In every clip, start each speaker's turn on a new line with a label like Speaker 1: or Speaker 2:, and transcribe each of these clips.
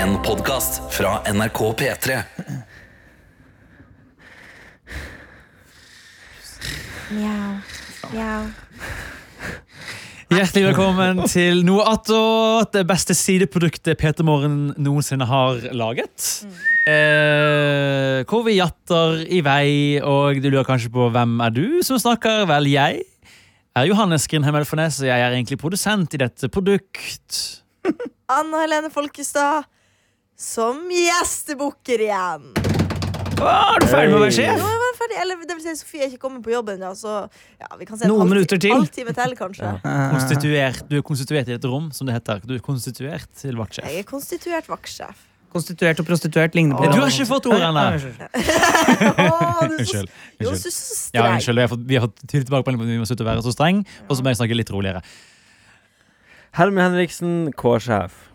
Speaker 1: En podcast fra NRK P3
Speaker 2: Mjau. Mjau.
Speaker 3: Hjertelig velkommen til noe attåt. Det beste sideproduktet Peter Morgen noensinne har laget. Eh, hvor vi jatter i vei, og du lurer kanskje på hvem er du som snakker? Vel, jeg er Johannes Grindheim Elfornes, og jeg er egentlig produsent i dette produkt.
Speaker 2: Anna Helene Folkestad som gjestebukker igjen.
Speaker 3: Hva, er du ferdig med å være
Speaker 2: Nå
Speaker 3: sjef?
Speaker 2: er jeg ferdig. Eller det vil si, Sofie er ikke kommet på jobben ennå, så ja, vi kan se en
Speaker 4: Noen
Speaker 2: halvti-
Speaker 4: minutter til.
Speaker 2: halvtime til, kanskje.
Speaker 3: Konstituert. Du er konstituert i et rom, som det heter. Du er konstituert til vaktsjef.
Speaker 2: Jeg er konstituert vaktsjef.
Speaker 4: Konstituert og prostituert ligner på
Speaker 3: Du har ikke fått ordet ennå.
Speaker 2: Å, du er så-
Speaker 3: Unnskyld.
Speaker 2: Jo,
Speaker 3: Unnskyld.
Speaker 2: så
Speaker 3: Ja,
Speaker 2: så streng.
Speaker 3: unnskyld. Vi har fått, vi har fått tydelig tilbakemelding på at vi må slutte å være så streng, og så må jeg snakke litt roligere.
Speaker 5: Herman Henriksen, K-sjef.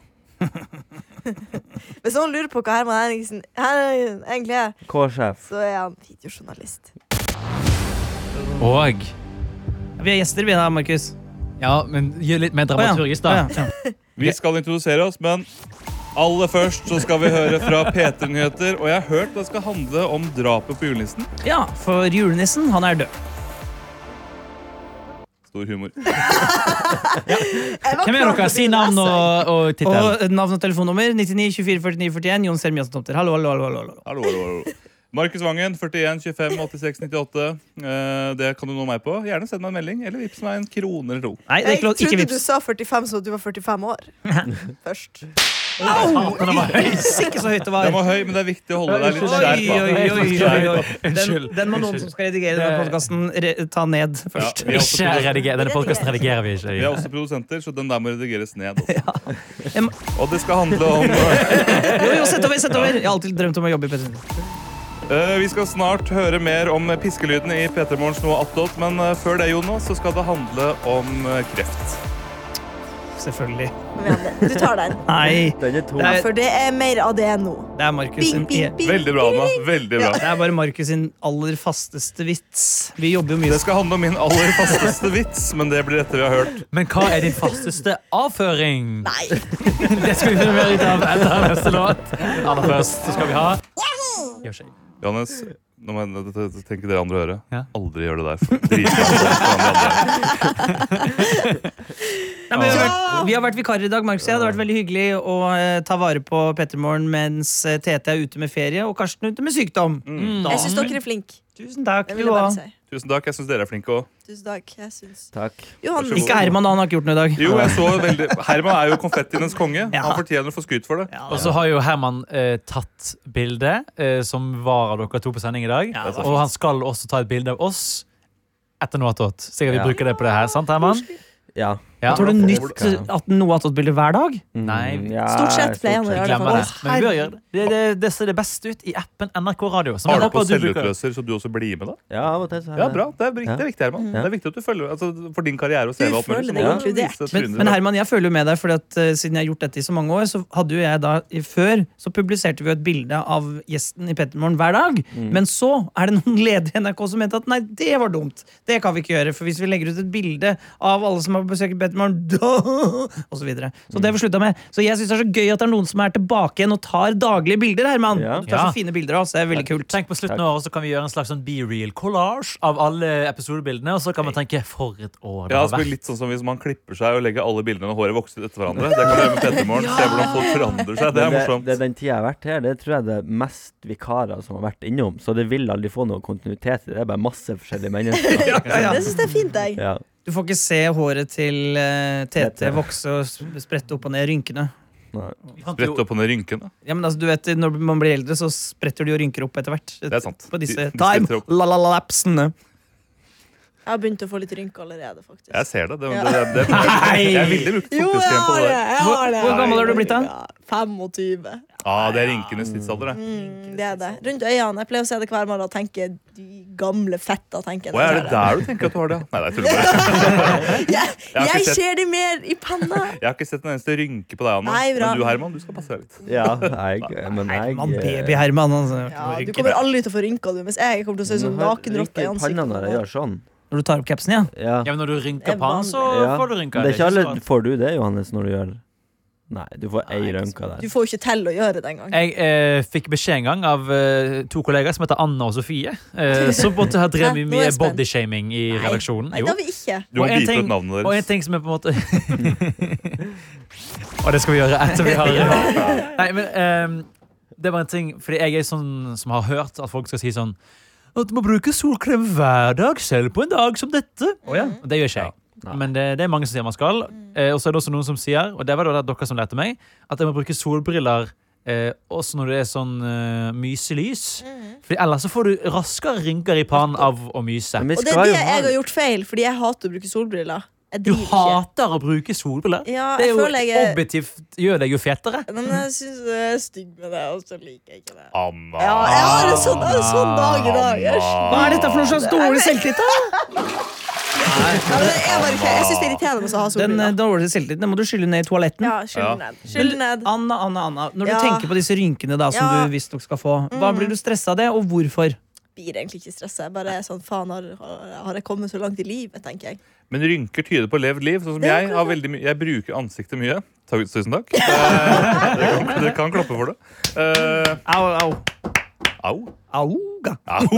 Speaker 2: Hvis noen lurer på hva Herman Henriksen Henriksen egentlig er,
Speaker 5: K-sjef.
Speaker 2: så er han videojournalist.
Speaker 3: Og
Speaker 4: Vi er gjester, vi da, Markus.
Speaker 3: Ja, men gjør litt mer dramaturgisk, da.
Speaker 6: Vi skal introdusere oss, men aller først så skal vi høre fra P3 Nyheter. Og jeg har hørt det skal handle om drapet på julenissen.
Speaker 4: ja. ja, for julenissen, han er død.
Speaker 6: Stor humor.
Speaker 2: Jeg var
Speaker 3: Hvem er
Speaker 2: klar
Speaker 3: dere?
Speaker 2: for
Speaker 3: Si
Speaker 2: det,
Speaker 3: navn
Speaker 2: altså.
Speaker 3: og, og tittel.
Speaker 4: Og eh, navn og telefonnummer 99 24 49 41 Jon Sermiassen Tomter. Hallo, hallo, hallo. hallo, hallo.
Speaker 6: Hallo, hallo, hallo. Markus Vangen, 41 25 86 98. Eh, Det kan du nå meg på. Gjerne send meg en melding, eller vips meg en krone eller to.
Speaker 4: Nei, det er
Speaker 2: Jeg
Speaker 4: ikke lov. Ikke
Speaker 2: trodde du
Speaker 4: vips.
Speaker 2: sa 45 som at du var 45 år. Først.
Speaker 4: Ikke så høyt det var.
Speaker 6: Den var høy, men det er viktig å holde deg litt
Speaker 4: Oi,
Speaker 6: skjær på.
Speaker 4: oi, oi, oi, oi. Den,
Speaker 3: Unnskyld.
Speaker 4: den må noen som skal redigere denne podkasten, re ta ned
Speaker 6: Ja,
Speaker 4: først.
Speaker 6: vi, er også
Speaker 3: Ikke
Speaker 6: produ-
Speaker 3: rediger, denne podkasten redigerer vi
Speaker 6: vi er
Speaker 3: ikke.
Speaker 6: også produsenter, så den der må redigeres ned. Også.
Speaker 4: Em-
Speaker 6: Og det skal handle om
Speaker 4: Jo, jo, sett over, sett over. Jeg har alltid drømt om å jobbe i Petter.
Speaker 6: Eh, Vi skal snart høre mer om piskelydene i P3 Morgens noe attåt, men eh, før det, Jonas, så skal det handle om eh, kreft.
Speaker 4: Selvfølgelig.
Speaker 2: Kom igjen, Du tar den.
Speaker 4: Nei,
Speaker 5: Den er tung.
Speaker 4: Nei.
Speaker 2: For det er mer av det nå.
Speaker 4: det er Markus
Speaker 2: Bing,
Speaker 4: sin
Speaker 2: bing, bing.
Speaker 6: Veldig bra, Anna. Veldig bra.
Speaker 4: Det er bare Markus sin aller fasteste vits. Vi jobber jo mye
Speaker 6: Det skal handle om min aller fasteste vits, men det blir etter vi har hørt.
Speaker 3: Men hva er din fasteste avføring?
Speaker 2: Nei.
Speaker 3: Det skal vi finne mer ut av etter neste låt. Aller først skal vi ha Gjør seg.
Speaker 6: Johannes, nå må jeg t- t- tenke dere andre øret.
Speaker 3: Ja.
Speaker 6: Aldri gjør det der. for drit i andre øret foran de andre.
Speaker 4: Nei, men vi,
Speaker 2: Ja!
Speaker 4: har vært, vi har vært vikarer i dag, Markus. og jeg. Det har vært veldig hyggelig å eh, ta vare på Pettermorgen mens eh, Tete er ute med ferie og Karsten er ute med sykdom.
Speaker 6: Mm.
Speaker 2: Jeg syns dere er flinke.
Speaker 4: Tusen takk.
Speaker 2: Det vil
Speaker 4: Jo,
Speaker 2: jeg
Speaker 4: da.
Speaker 2: bare si.
Speaker 6: Tusen takk. Jeg syns dere er flinke òg.
Speaker 2: Tusen takk. Jeg syns
Speaker 5: Takk.
Speaker 2: Johan,
Speaker 6: Vær så god.
Speaker 4: Ikke Herman, da. Han har ikke gjort noe i dag.
Speaker 6: Jo, jeg så veldig Herman er jo konfettienes konge.
Speaker 4: Ja.
Speaker 6: Han fortjener å få skryt for det.
Speaker 4: Ja,
Speaker 3: Og så har jo Herman eh, tatt bilde, eh, som var av dere to på sending i dag.
Speaker 4: Ja, det var
Speaker 3: og han skal også ta et bilde av oss etter noe attåt. Sikkert vi
Speaker 5: Ja.
Speaker 3: bruker det på det her, sant, Herman?
Speaker 5: Ja.
Speaker 3: Ja.
Speaker 4: Tar du nytt at noe attåtbilde hver dag?
Speaker 5: Mm,
Speaker 3: Nei,
Speaker 5: ja,
Speaker 2: Stort sett pleier han å gjøre det
Speaker 3: Glemmer
Speaker 2: for
Speaker 3: det.
Speaker 2: oss.
Speaker 3: Men vi bør gjøre det. Det, det, det ser det beste ut i appen NRK Radio. Som jeg
Speaker 6: Har du
Speaker 3: håper
Speaker 6: på
Speaker 3: at bruker.
Speaker 6: selvutløser, så du også blir med, da?
Speaker 5: Ja, av og til så er
Speaker 6: Ja,
Speaker 5: det-
Speaker 6: bra. Det er, vik- det er viktig, Herman.
Speaker 5: Ja.
Speaker 6: Det er viktig at du følger altså, For din karriere og CV og alt mulig.
Speaker 2: føler
Speaker 6: så
Speaker 2: deg
Speaker 6: må du
Speaker 2: inkludert.
Speaker 6: vise
Speaker 4: Men,
Speaker 6: trynet
Speaker 4: men
Speaker 6: ditt.
Speaker 4: Herman, jeg føler jo med deg, fordi at eh, siden jeg har gjort dette i så mange år, så hadde jo jeg da i- Før så publiserte vi jo et bilde av gjesten i Pettermorgen hver dag. Men så er det noen ledige i NRK som mente at nei, det var dumt. Det kan vi ikke gjøre, for hvis vi legger ut et bilde av alle som har besøkt Pettermorgen, da Og så videre. Så det har vi slutta med. Så jeg syns det er så gøy at det er noen som er tilbake igjen og tar daglige bilder, Herman.
Speaker 5: Ja.
Speaker 4: Du tar
Speaker 3: Ja.
Speaker 4: så fine bilder av oss, det er veldig kult.
Speaker 3: Tenk på slutten av året så kan vi gjøre en slags sånn be-real collage av alle episodebildene. Og så kan man tenke for et år det
Speaker 6: Ja,
Speaker 3: har
Speaker 6: så blir det
Speaker 3: vært.
Speaker 6: litt sånn som hvis man klipper seg og legger alle bildene når håret vokser etter hverandre. Det kan du gjøre med Petter Morgen. Se hvordan folk forandrer seg. Det
Speaker 5: Men
Speaker 6: er morsomt.
Speaker 5: Det, det, den tida jeg har vært her, det tror jeg det er mest vikarer som har vært innom. Så det vil aldri få noe kontinuitet i det. Det er bare masse forskjellige mennesker. ja,
Speaker 4: ja.
Speaker 2: Det syns jeg er fint, jeg.
Speaker 5: ja.
Speaker 4: Du får ikke se håret til eh, Tete
Speaker 5: Tete.
Speaker 4: vokse og sp- sprette opp og ned rynkene.
Speaker 5: Nei.
Speaker 3: Vi fant jo-
Speaker 6: Rett opp og ned rynkene.
Speaker 4: Ja, men altså, du vet, Når man blir eldre, så spretter de og rynker opp etter hvert.
Speaker 6: er sant.
Speaker 4: På disse
Speaker 6: De- de spretter
Speaker 4: time
Speaker 6: opp.
Speaker 4: lalalapsene.
Speaker 2: Jeg har begynt å få litt rynker allerede, faktisk.
Speaker 6: Jeg ser det. det,
Speaker 2: Ja.
Speaker 6: det, det, det jeg, jeg ville brukt
Speaker 2: Jo, jeg
Speaker 6: fuktighetskrem på
Speaker 2: har
Speaker 6: det
Speaker 2: det.
Speaker 6: der.
Speaker 2: Jeg har det.
Speaker 4: Hvor- hvor gammel er du blitt da?
Speaker 2: Ja, 25.
Speaker 6: Ah, det er rynkenes tidsalder, det.
Speaker 2: Mm, det er det. Rundt øynene. Jeg pleier å se det hver morgen og tenke de gamle fetta. tenker jeg.
Speaker 6: Å, er det der du tenker at du har det? Nei, nei, jeg tuller bare.
Speaker 2: Jeg,
Speaker 6: Jeg har ikke
Speaker 2: jeg
Speaker 6: sett-
Speaker 2: ser de mer i panna.
Speaker 6: Jeg har ikke sett en eneste rynke på deg, Anna.
Speaker 2: Nei, bra.
Speaker 6: Men du, Herman, du skal passe deg litt.
Speaker 5: ja, jeg Men jeg
Speaker 4: Herman, baby-Herman. Altså.
Speaker 2: Ja, du kommer aldri til å få rynker, du, mens jeg kommer til å se ut som
Speaker 5: Men har-
Speaker 2: nakenrotte i
Speaker 5: rykker i panna når jeg
Speaker 2: ansiktet.
Speaker 5: gjør sånn.
Speaker 4: Når du tar opp capsen, ja.
Speaker 5: Ja.
Speaker 3: Ja, men når du
Speaker 2: Det
Speaker 3: rynker
Speaker 2: er
Speaker 3: pannen, så
Speaker 5: Ja.
Speaker 3: får du
Speaker 5: Men
Speaker 3: rynker.
Speaker 5: det er ikke
Speaker 3: så
Speaker 5: alle
Speaker 3: rart.
Speaker 5: Får du det, Johannes, når du gjør Nei, du får ei rønka der.
Speaker 2: Du får jo ikke til å gjøre det engang.
Speaker 3: Jeg eh, fikk beskjed en gang av eh, to kollegaer som heter Anna og Sofie, eh, som måtte ha drevet
Speaker 2: Hæ?
Speaker 3: med
Speaker 2: Nå er
Speaker 3: mye
Speaker 2: jeg spent.
Speaker 3: bodyshaming i
Speaker 2: Nei.
Speaker 3: redaksjonen.
Speaker 2: Nei,
Speaker 3: Jo.
Speaker 2: det har vi ikke.
Speaker 6: Du må
Speaker 3: Og en
Speaker 6: bipe
Speaker 3: ting-
Speaker 6: ut navnet
Speaker 3: Og en
Speaker 6: deres.
Speaker 3: ting som er på en måte Og det skal vi gjøre etter vi har Nei, men ehm, Det var en ting Fordi jeg er sånn som har hørt at folk skal si sånn At du må bruke solkrem hver dag Selv på en dag som dette Og Det gjør ikke jeg
Speaker 5: Nei.
Speaker 3: Men det, det er mange som sier man skal eh, Og så er det også noen som sier Og det var det dere som lærte meg At jeg må bruke solbriller eh, Også når det er sånn eh, myselys Fordi ellers så får du raskere rynker i panen Av å myse
Speaker 5: Men vi
Speaker 2: Og det
Speaker 5: skal
Speaker 2: er
Speaker 5: jo
Speaker 2: det
Speaker 5: ha
Speaker 2: jeg har
Speaker 5: det.
Speaker 2: gjort feil, fordi jeg hater å bruke solbriller. Jeg
Speaker 3: Du
Speaker 2: driver ikke.
Speaker 3: hater å bruke solbriller
Speaker 2: Ja,
Speaker 3: Det er
Speaker 2: jeg
Speaker 3: jo
Speaker 2: føler jeg er
Speaker 3: objektivt gjør deg jo fetere.
Speaker 2: Men jeg syns jeg er stygg med det, og så liker jeg ikke det.
Speaker 6: Anna.
Speaker 2: Ja, jeg har en sånn, jeg har en sånn dag i dag. Jeg skj-
Speaker 4: Hva er dette for noe slags dårlig selvtillit? da?
Speaker 2: Ja, men jeg bare ikke- jeg syns det er irriterende å ha
Speaker 4: Den eh,
Speaker 2: solbriller.
Speaker 4: dårlige selvtilliten den må du skylle ned i toaletten.
Speaker 2: Ja, skyld den ned. Skyld den ned.
Speaker 4: Anna, Anna, Anna, Når
Speaker 2: Ja.
Speaker 4: du tenker på disse rynkene da, som
Speaker 2: Ja. Mm.
Speaker 4: du visstnok skal få, hva blir du stressa av det, og hvorfor?
Speaker 2: Blir egentlig ikke stressa. Bare er sånn, faen, har, har- har jeg kommet så langt i livet, tenker jeg.
Speaker 6: Men rynker tyder på levd liv. Sånn som
Speaker 2: Det er
Speaker 6: jeg, har veldig mye- jeg bruker ansiktet mye. Ta- Tusen takk. Eh, Dere kan, dere kan klappe for det. Eh,
Speaker 4: Au, au.
Speaker 6: au.
Speaker 4: Auga.
Speaker 6: Au!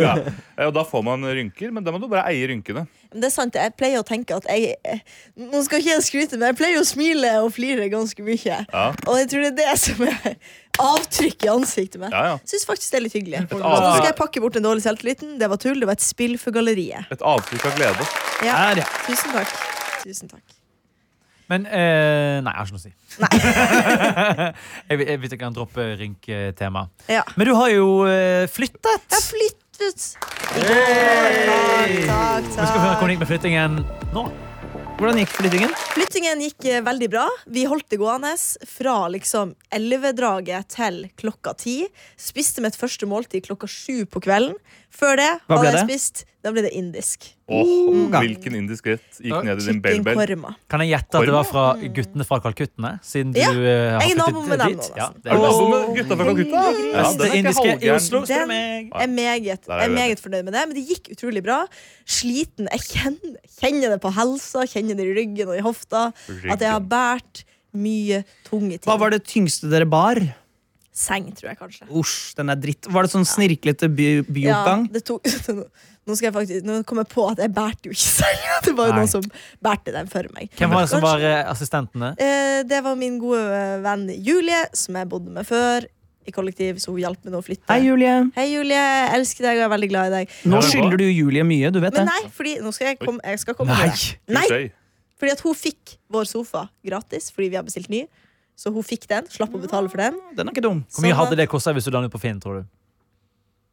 Speaker 6: Ja. Eh, Og da får man rynker, men da må du bare eie rynkene.
Speaker 2: Men det er sant, jeg pleier å tenke at jeg eh, Nå skal ikke jeg skryte, men jeg pleier å smile og flire ganske mye.
Speaker 6: Ja.
Speaker 2: Og jeg tror det er det som er avtrykk i ansiktet mitt.
Speaker 6: Ja, ja.
Speaker 2: Syns faktisk det er litt hyggelig. Så nå
Speaker 6: avtrykk.
Speaker 2: skal jeg pakke bort den dårlige selvtilliten. Det var tull. Det var et spill for galleriet.
Speaker 6: Et avtrykk av glede.
Speaker 2: Ja.
Speaker 4: Her, ja.
Speaker 2: Tusen takk. Tusen takk.
Speaker 3: Men eh, nei, jeg har ikke noe å si. jeg, vil- jeg vet jeg kan droppe rynketema.
Speaker 2: Ja.
Speaker 3: Men du har jo eh, flyttet.
Speaker 2: Jeg har flyttet. Takk, takk,
Speaker 3: Vi skal høre
Speaker 2: takk.
Speaker 3: hvordan det gikk med flyttingen nå.
Speaker 4: Hvordan gikk flyttingen?
Speaker 2: Flyttingen gikk eh, veldig bra. Vi holdt det gående fra liksom 11-draget til klokka 10. Spiste mitt første måltid klokka 7 på kvelden. Før det
Speaker 4: Hva
Speaker 2: hadde
Speaker 4: ble
Speaker 2: jeg
Speaker 4: det?
Speaker 2: spist Da ble det indisk.
Speaker 6: Åh, hvilken indisk rett gikk ned i din
Speaker 2: Chicken
Speaker 6: belbel?
Speaker 2: korma.
Speaker 3: Kan jeg gjette at det var fra guttene fra Kalkuttene? Siden du
Speaker 2: Ja,
Speaker 3: eh, har
Speaker 2: jeg er
Speaker 3: flyttet
Speaker 2: nabo med dem
Speaker 3: dit.
Speaker 2: nå,
Speaker 3: Ja,
Speaker 2: nesten.
Speaker 3: det
Speaker 6: Er
Speaker 3: er
Speaker 6: du
Speaker 3: best.
Speaker 6: nabo med gutta fra Calcutta? Ja,
Speaker 3: Beste
Speaker 6: den er ikke
Speaker 3: indiske i
Speaker 6: halvgæren.
Speaker 3: Oslo. spør du
Speaker 2: Den
Speaker 3: meg.
Speaker 2: er meget, jeg er meget fornøyd med det, men det gikk utrolig bra. Sliten. Jeg kjenner, kjenner det på helsa, kjenner det i ryggen og i hofta. At jeg har båret mye tunge ting.
Speaker 4: Hva var det tyngste dere bar?
Speaker 2: Seng, tror jeg kanskje.
Speaker 4: Usj, den er dritt. Var det sånn snirklete by byoppgang?
Speaker 2: det tok, nå, skal jeg faktisk, nå kom jeg på at jeg bærte jo ikke senga. Det var jo
Speaker 3: Nei.
Speaker 2: noen som bærte den for meg.
Speaker 3: Hvem var det som
Speaker 2: Kanskje-
Speaker 3: var eh, assistentene?
Speaker 2: Eh, det var min gode eh, venn Julie, som jeg bodde med før i kollektiv, så hun hjalp meg nå å flytte.
Speaker 4: Hei, Julie.
Speaker 2: Hei, Julie. Jeg elsker deg og jeg er veldig glad i deg.
Speaker 4: Nå
Speaker 6: Ja, det var-
Speaker 4: skylder du Julie mye, du vet det.
Speaker 2: Men nei, fordi nå skal jeg komme, jeg skal komme
Speaker 3: Nei.
Speaker 2: til det. Nei, fordi at hun fikk vår sofa gratis fordi vi har bestilt ny. Så hun fikk den, slapp å betale for den.
Speaker 4: Den er ikke dum.
Speaker 3: Hvor mye
Speaker 2: Sånn
Speaker 3: hadde
Speaker 2: at-
Speaker 3: det kosta hvis du la den ut på Finn, tror du?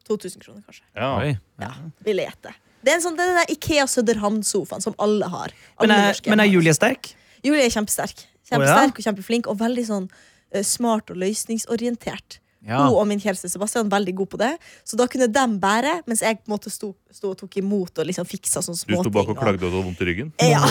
Speaker 2: 2000 kroner, kanskje.
Speaker 6: Ja.
Speaker 3: Oi.
Speaker 2: Ja, Ville gjette. Det er en sånn, det er den der Ikea Søderhamn-sofaen som alle har. Alle
Speaker 4: Men er,
Speaker 2: norske
Speaker 4: men er
Speaker 2: hjem har.
Speaker 4: Julie sterk?
Speaker 2: Julie er kjempesterk.
Speaker 4: Å, ja?
Speaker 2: Kjempesterk og kjempeflink og veldig sånn eh, smart og løsningsorientert.
Speaker 3: Ja.
Speaker 2: Hun og min kjæreste Sebastian er veldig god på det, så da kunne de bære, mens jeg på en måte sto, sto og tok imot og liksom fiksa sånne
Speaker 6: Du sto
Speaker 2: småting.
Speaker 6: bak og klagde og hadde vondt i ryggen?
Speaker 2: Ja.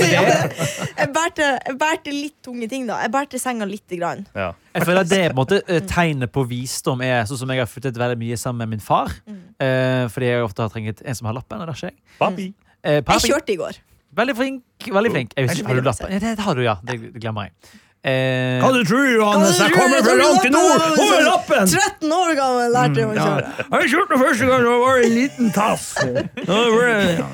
Speaker 2: ja men jeg, bærte, jeg bærte litt tunge ting, da. Jeg bærte senga lite grann.
Speaker 6: Ja.
Speaker 3: Jeg føler at det er på en måte eh, tegnet på visdom er sånn som jeg har flyttet veldig mye sammen med min far.
Speaker 2: Mm.
Speaker 3: Eh, fordi jeg ofte har trengt en som har lappen. og det har ikke jeg.
Speaker 6: Papi.
Speaker 3: Eh,
Speaker 2: Jeg
Speaker 3: pappa-
Speaker 2: kjørte i går.
Speaker 3: Veldig flink. veldig flink jeg
Speaker 2: Er
Speaker 3: husker,
Speaker 2: det
Speaker 3: Har du
Speaker 2: veldig
Speaker 3: lappen? Ja, det har du, ja. Det det glemmer jeg. Eh,
Speaker 4: Hva du tror, Johannes?
Speaker 2: Hva du
Speaker 4: Jeg
Speaker 2: tror,
Speaker 4: kommer fra
Speaker 2: jeg tror
Speaker 4: langt i
Speaker 2: lappen
Speaker 4: nord!
Speaker 2: er-
Speaker 4: Over lappen!
Speaker 2: 13 år gammel lærte jeg meg å
Speaker 4: Mm, Ja.
Speaker 2: kjøre.
Speaker 4: Jeg har kjørt det første gang, da var det en liten tass. Nå ble det-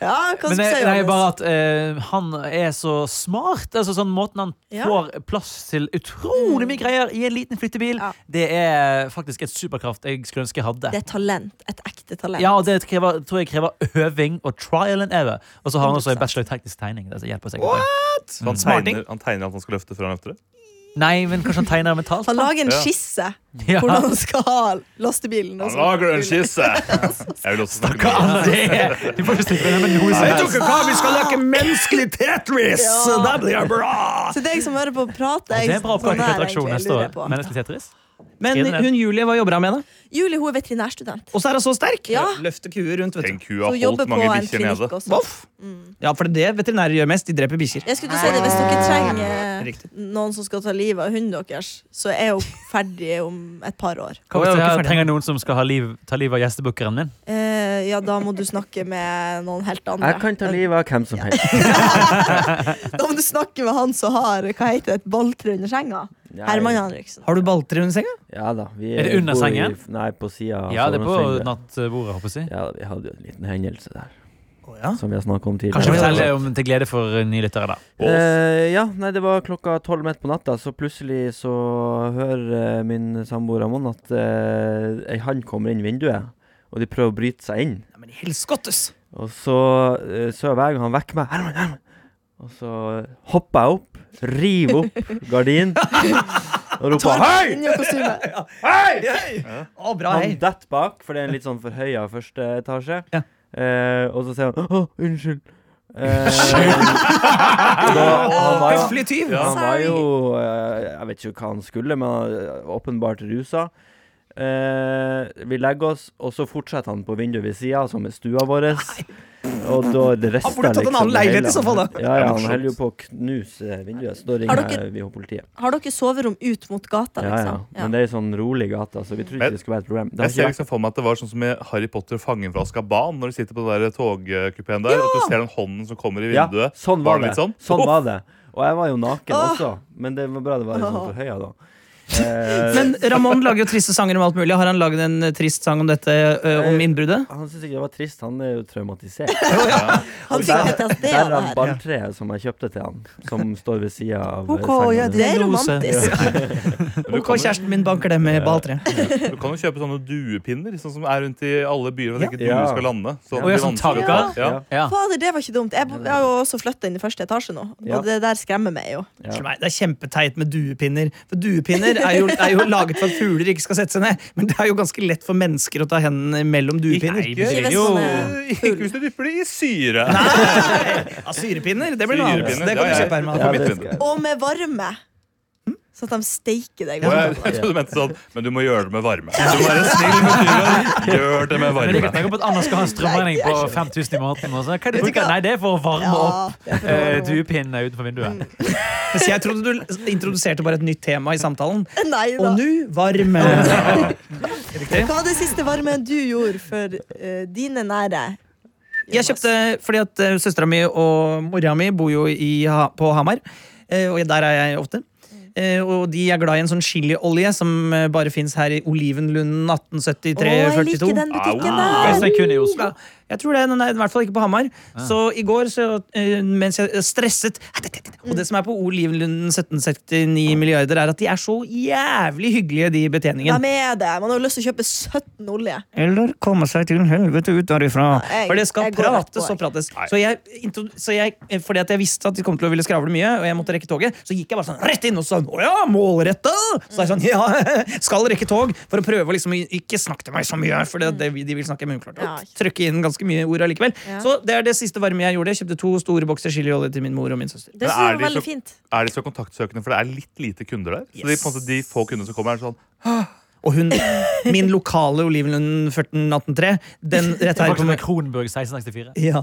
Speaker 2: Ja,
Speaker 3: men
Speaker 2: hva skal
Speaker 3: det,
Speaker 2: jeg
Speaker 3: det er
Speaker 2: gjøre?
Speaker 3: bare at eh, han er så smart. Altså sånn Måten han
Speaker 2: Ja. Mm.
Speaker 3: får plass til utrolig mye greier i en liten flyttebil,
Speaker 2: Ja.
Speaker 3: det er faktisk et superkraft jeg skulle ønske jeg hadde.
Speaker 2: Det er talent. Et ekte talent.
Speaker 3: Ja, og Det krever, tror jeg krever øving og trial and error. Og så har han også en
Speaker 2: 100%.
Speaker 3: bachelor i teknisk tegning. Det hjelper sikkert.
Speaker 6: Så Han
Speaker 4: Smarting.
Speaker 6: tegner, han tegner at han skal løfte før han løfter det?
Speaker 3: Nei, men kanskje han tegner mentalt?
Speaker 2: Han lager en
Speaker 6: Ja.
Speaker 2: skisse
Speaker 3: Ja.
Speaker 2: hvordan han skal ha lastebilen. altså. og så-
Speaker 6: Han lager en skisse! Jeg vil også snakke
Speaker 3: Hva
Speaker 6: om
Speaker 3: annet det er? Du får ikke slippe det med noe som
Speaker 4: Vet
Speaker 3: helst.
Speaker 4: dere hva, vi skal leke menneskelig Tetris!
Speaker 2: Ja.
Speaker 4: Det blir bra!
Speaker 2: Så deg som hører på prate
Speaker 3: Det
Speaker 2: jeg-
Speaker 3: er en bra
Speaker 2: sånn
Speaker 3: oppgave til
Speaker 2: her,
Speaker 3: attraksjon
Speaker 2: egentlig,
Speaker 3: neste
Speaker 2: lurer jeg
Speaker 3: år.
Speaker 2: på.
Speaker 3: Menneskelig tetris.
Speaker 4: Men hun Julie, hva jobber hun med? da?
Speaker 2: Julie hun er veterinærstudent.
Speaker 4: Og så er hun så sterk!
Speaker 2: Ja.
Speaker 4: Løfter kuer rundt, vet du.
Speaker 6: Tenk, hun
Speaker 2: Så
Speaker 6: har
Speaker 2: hun jobber
Speaker 6: holdt
Speaker 2: på
Speaker 6: mange
Speaker 2: en
Speaker 6: bikkjer nede.
Speaker 2: klinikk også.
Speaker 4: Voff! Ja, for det er det veterinærer gjør mest. De dreper bikkjer.
Speaker 2: Jeg skulle til å si det, Hvis dere trenger
Speaker 4: Riktig.
Speaker 2: noen som skal ta livet av hunden deres, så er hun ferdig om et par år.
Speaker 3: Hva hvis
Speaker 4: Å, ja,
Speaker 3: jeg
Speaker 4: hvorfor det?
Speaker 3: trenger noen som skal ha liv, ta livet av gjestebukkeren min?
Speaker 2: Eh, eh, ja, da må du snakke med noen helt andre.
Speaker 5: Jeg kan ta livet av hvem som helst.
Speaker 2: Da må du snakke med han som har hva heter det, et balltre under senga. Herman Henriksen.
Speaker 4: Har du balltre under senga?
Speaker 5: Ja da. Vi
Speaker 3: Er det under
Speaker 5: bor i-
Speaker 3: sengen?
Speaker 5: Nei, på sida.
Speaker 3: Ja, det er på nattbordet, håper jeg. å si.
Speaker 5: Ja, vi hadde jo en liten hendelse der,
Speaker 4: Å ja.
Speaker 5: som vi har snakket om tidligere.
Speaker 3: Kanskje
Speaker 4: Ja.
Speaker 3: fortelle om til glede for eh, nye lyttere, da.
Speaker 5: Eh, ja, nei, det var klokka tolv midt på natta, så plutselig så hører eh, min samboer Amon at eh, ei hand kommer inn vinduet, og de prøver å bryte seg inn.
Speaker 4: Nei, men i helskottes!
Speaker 5: Og så uh, sover jeg, og han vekker meg. Herman, Herman! Og så hopper jeg opp, river opp gardinen og roper
Speaker 2: Torben
Speaker 5: hei!
Speaker 2: inn i kostyme.
Speaker 4: Å, bra, hei.
Speaker 5: Han detter bak, for det er en litt sånn forhøya første etasje.
Speaker 4: Ja.
Speaker 5: Eh, og så sier han å, unnskyld. Uh, da, han var jo
Speaker 4: Høflig tyv!
Speaker 5: Ja, han var
Speaker 2: Sorry.
Speaker 5: jo eh, Jeg vet ikke hva han skulle, men han var åpenbart rusa. Eh, vi legger oss, og så fortsetter han på vinduet ved sida, som er stua vår. Og da det resten
Speaker 4: burde tatt en annen
Speaker 5: det
Speaker 4: leilighet
Speaker 5: hele.
Speaker 4: i så fall, da.
Speaker 5: Ja, ja, han
Speaker 6: Morsomt.
Speaker 5: holder jo på å knuse vinduet, så da
Speaker 2: Har
Speaker 5: ringer
Speaker 2: dere-
Speaker 5: jeg- vi jo politiet.
Speaker 2: Har dere soverom ut mot gata,
Speaker 5: Ja, ja.
Speaker 2: liksom?
Speaker 5: Men det er ei sånn rolig gate, så vi tror
Speaker 6: Men-
Speaker 5: ikke det skulle være et problem. Det har
Speaker 6: Jeg ser
Speaker 5: ikke vært
Speaker 6: liksom for meg at det var sånn som i Harry Potter fangen fra Azkaban. Når de sitter på den der togkupeen der, at du ser den hånden som kommer i vinduet.
Speaker 5: Ja, sånn var, det.
Speaker 6: det litt sånn?
Speaker 5: Sånn var det. Og jeg var jo naken
Speaker 2: Åh.
Speaker 5: også, men det var bra det var litt sånn forhøya da. Eh,
Speaker 4: Men Ramón lager jo triste sanger om alt mulig. Har han laget en eh, trist sang om dette, eh, om innbruddet?
Speaker 5: han syns ikke det var trist, han er jo traumatisert.
Speaker 2: Han
Speaker 5: Der,
Speaker 2: fikk PTSD av
Speaker 5: der
Speaker 2: det
Speaker 5: er
Speaker 2: her.
Speaker 5: balltreet som jeg kjøpte til han, som står ved sida av
Speaker 4: Ok,
Speaker 5: senga.
Speaker 4: ja,
Speaker 5: mi.
Speaker 2: Det er romantisk.
Speaker 6: Du
Speaker 4: Ok,
Speaker 6: kan, jo,
Speaker 4: kjæresten min banker det med balltre.
Speaker 6: du kan jo kjøpe sånne duepinner sånn som er rundt i alle byer. Hvor
Speaker 4: Ja.
Speaker 6: ja. ikke du
Speaker 5: Ja.
Speaker 6: skal lande. Så
Speaker 3: ja,
Speaker 5: Og
Speaker 6: det blir
Speaker 3: sånn
Speaker 6: vanskelig.
Speaker 3: tanker.
Speaker 6: Ja.
Speaker 3: Ja.
Speaker 2: Fader, det var ikke dumt. Jeg, bo- jeg har jo også flytta inn i første etasje nå,
Speaker 5: Ja.
Speaker 2: og det der skremmer meg jo.
Speaker 5: Ja.
Speaker 4: Unnskyld meg, Det er kjempeteit med duepinner. For Duepinner er jo, er jo laget for at fugler ikke skal sette seg ned. Men det er jo ganske lett for mennesker å ta hendene mellom duepinner.
Speaker 3: Nei,
Speaker 6: Ikke,
Speaker 3: det er
Speaker 2: Ikke
Speaker 3: jo
Speaker 2: sånn,
Speaker 6: ikke hvis du dypper det i syre.
Speaker 4: Ja, Syrepinner, det blir noe annet.
Speaker 6: Syrepinner,
Speaker 4: Det kan
Speaker 6: ja,
Speaker 4: du
Speaker 6: ja.
Speaker 4: kjøpe, Herman.
Speaker 5: Ja, Hm?
Speaker 6: mitt
Speaker 5: det
Speaker 6: vindu.
Speaker 5: skal jeg.
Speaker 2: Og med varme. Sånn at de steiker deg.
Speaker 6: Og jeg, jeg trodde du mente sånn, men du må gjøre det med varme. Du må være snill med dyret. Gjør det
Speaker 3: Men jeg
Speaker 6: med varme.
Speaker 3: kan tenke på at Anders skal ha en strømregning på 5000 i måneden. og så, Hva er det du bruker? Nei, det er for å varme opp eh, duepinnene utenfor vinduet.
Speaker 4: Mens Jeg trodde du introduserte bare et nytt tema i samtalen.
Speaker 2: Nei
Speaker 4: Og
Speaker 2: da.
Speaker 4: nå varme.
Speaker 2: Hva var det siste varme du gjorde for eh, dine nære?
Speaker 4: Jeg kjøpte, fordi at eh, søstera mi og mora mi bor jo i, Ha- på Hamar, eh, og der er jeg ofte. Eh, Og de er glad i en sånn chiliolje som eh, bare fins her i Olivenlunden
Speaker 2: Å, jeg
Speaker 4: 1873-42.
Speaker 2: liker den butikken der!
Speaker 3: Hvis jeg kun i Oslo.
Speaker 4: Ja, jeg tror det, den er i hvert fall ikke på Hamar. Så i går, så, eh, mens jeg stresset Og det som er på Olivenlunden 1769 milliarder, er at de er så jævlig hyggelige, de
Speaker 2: Ja,
Speaker 4: i betjeningen.
Speaker 2: med det. Man har jo lyst til å kjøpe 17 olje.
Speaker 4: Eller komme seg til helvete ut derifra.
Speaker 2: Ja, jeg-
Speaker 4: For det skal
Speaker 2: jeg går rett på,
Speaker 4: prates
Speaker 2: jeg.
Speaker 4: og prates. Så jeg, intro- så jeg, eh, fordi at jeg visste at de kom til å ville skravle mye, og jeg måtte rekke toget, så gikk jeg bare sånn rett inn og sånn Å ja, målretta! Så jeg sånn, ja, skal rekke tog, for å prøve å liksom ikke snakke til meg så mye, for det, det, vi- de vil snakke med uklart.
Speaker 2: Ja.
Speaker 4: Og trykke inn ganske mye ord allikevel.
Speaker 2: Ja.
Speaker 4: Så det er det siste varme jeg gjorde. Jeg kjøpte to store bokser chiliolje til min mor og min søster.
Speaker 2: Det
Speaker 6: Men
Speaker 2: synes jeg
Speaker 6: er de
Speaker 2: var veldig
Speaker 6: så-
Speaker 2: fint.
Speaker 6: Er de så kontaktsøkende, for det er litt lite kunder der? Så de, på en måte, de få kundene som kommer, er sånn
Speaker 4: Og hun, min lokale Olivenlund 1418-3, den rett her på
Speaker 3: Faktisk med Kronburg 1664.
Speaker 4: Ja,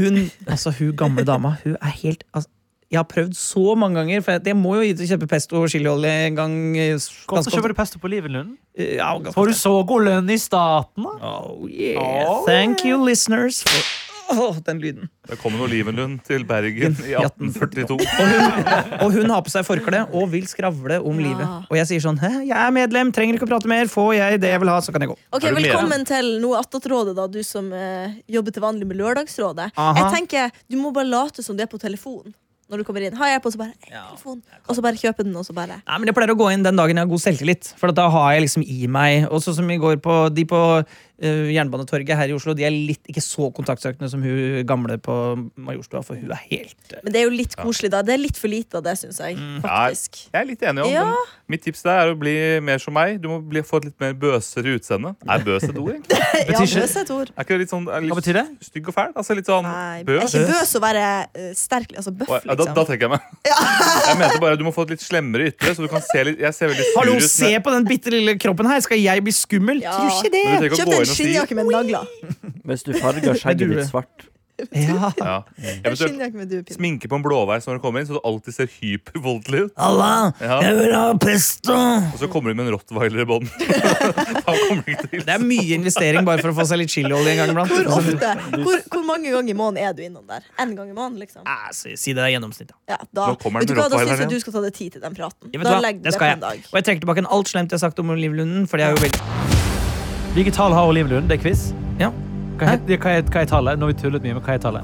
Speaker 4: hun, altså hun gamle dama Hun er helt altså, Jeg har prøvd så mange ganger For jeg, jeg må jo gi- kjøpe pesto og chiliolje en gang eh, s-
Speaker 3: Hvorfor
Speaker 4: ganske ofte. Eh,
Speaker 3: kjøper du pesto på Olivenlund?
Speaker 4: Ja, ganske
Speaker 3: Får
Speaker 4: ofte.
Speaker 3: du så god lønn i staten, da?
Speaker 4: Oh yeah, thank you listeners for, Åh, Den lyden
Speaker 6: Det kom en olivenlund til Bergen i 1842.
Speaker 4: og hun, og hun har på seg forkle og vil skravle om
Speaker 2: Ja.
Speaker 4: livet Og jeg sier sånn, Hæ, jeg er medlem, trenger ikke å prate mer Får jeg det jeg vil ha, så kan jeg gå
Speaker 2: Ok,
Speaker 6: Er du med,
Speaker 2: Velkommen til noe attåtrådet, da, du som eh, jobber til vanlig med Lørdagsrådet.
Speaker 4: Aha.
Speaker 2: Jeg tenker, Du må bare late som det er på telefonen. Når du kommer inn. Har jeg på, så bare «Jeg har telefon. Og så bare kjøpe den, og så bare
Speaker 4: Nei, men Jeg pleier å gå inn den dagen jeg har god selvtillit. For at da har jeg liksom i meg Og sånn som i går på De på eh, Jernbanetorget her i Oslo De er litt ikke så kontaktsøkende som hun gamle på Majorstua, for hun er helt
Speaker 2: Men det er jo litt koselig, da. Det er litt for lite av det, syns jeg.
Speaker 6: Mm.
Speaker 2: faktisk
Speaker 6: Jeg er litt enig om
Speaker 2: Ja.
Speaker 6: men Mitt tips der er å bli mer som meg. Du må bli, få et litt mer bøsere utseende. Er bøs et ord, egentlig?
Speaker 2: Ja,
Speaker 3: ikke-
Speaker 2: bøs er et ord.
Speaker 6: Er ikke det litt sånn er
Speaker 3: Hva
Speaker 6: litt
Speaker 3: betyr det?
Speaker 6: stygg og fæl? Altså litt sånn
Speaker 2: Nei, er
Speaker 6: bøs?
Speaker 2: ikke bøs å være eh, sterk, altså bøff,
Speaker 6: Å, ja, da, da
Speaker 2: liksom.
Speaker 6: trekker jeg meg. Jeg mente bare Du må få et litt slemmere ytre. Så du kan se litt, jeg ser veldig sur
Speaker 4: Hallo,
Speaker 6: ut.
Speaker 4: se
Speaker 6: men-
Speaker 4: på den bitte lille kroppen her! Skal jeg bli skummel?
Speaker 2: Ja.
Speaker 4: Tror ikke
Speaker 6: men
Speaker 4: det!
Speaker 6: du trenger ikke å
Speaker 2: Kjøp
Speaker 6: gå
Speaker 2: deg
Speaker 6: inn
Speaker 2: en
Speaker 6: og si-
Speaker 2: skinnjakke med nagler.
Speaker 5: Hvis du farger
Speaker 4: Med
Speaker 5: skjegget
Speaker 4: gule.
Speaker 5: ditt svart,
Speaker 4: Ja.
Speaker 6: Ja.
Speaker 2: Jeg
Speaker 6: Eventuelt
Speaker 2: skinner ikke med duepinne.
Speaker 6: sminke på en blåveis når du kommer inn, så du alltid ser hypervoldelig ut.
Speaker 4: Allah,
Speaker 6: Ja.
Speaker 4: jeg vil ha pesto!
Speaker 6: Og så kommer du med en rottweiler i bånd. da kommer du ikke til.
Speaker 4: Det er mye investering bare for å få seg litt chiliolje en gang iblant. Altså,
Speaker 2: Hvor ofte? Hvor, hvor mange ganger i måneden er du innom der? En gang i måneden, liksom?
Speaker 4: Nei, si si det er gjennomsnitt, da.
Speaker 2: Ja, da,
Speaker 6: Nå kommer
Speaker 2: vet
Speaker 6: den
Speaker 2: du hva, da
Speaker 6: rottweileren
Speaker 2: syns jeg
Speaker 6: igjen.
Speaker 2: du skal ta deg tid til den praten.
Speaker 4: Jeg vet
Speaker 2: Da
Speaker 4: hva,
Speaker 2: legger du
Speaker 4: det
Speaker 2: deg på
Speaker 4: skal
Speaker 2: en
Speaker 4: jeg.
Speaker 2: dag.
Speaker 4: Og jeg trekker tilbake en alt slemt jeg har sagt om Liv Lunden. Fordi jeg er jo veldig
Speaker 3: Hvilke tall har Olive Lund? Det er quiz.
Speaker 4: Ja.
Speaker 3: Hva er, hva er, hva er tallet? Nå har vi tullet mye med hva er tallet.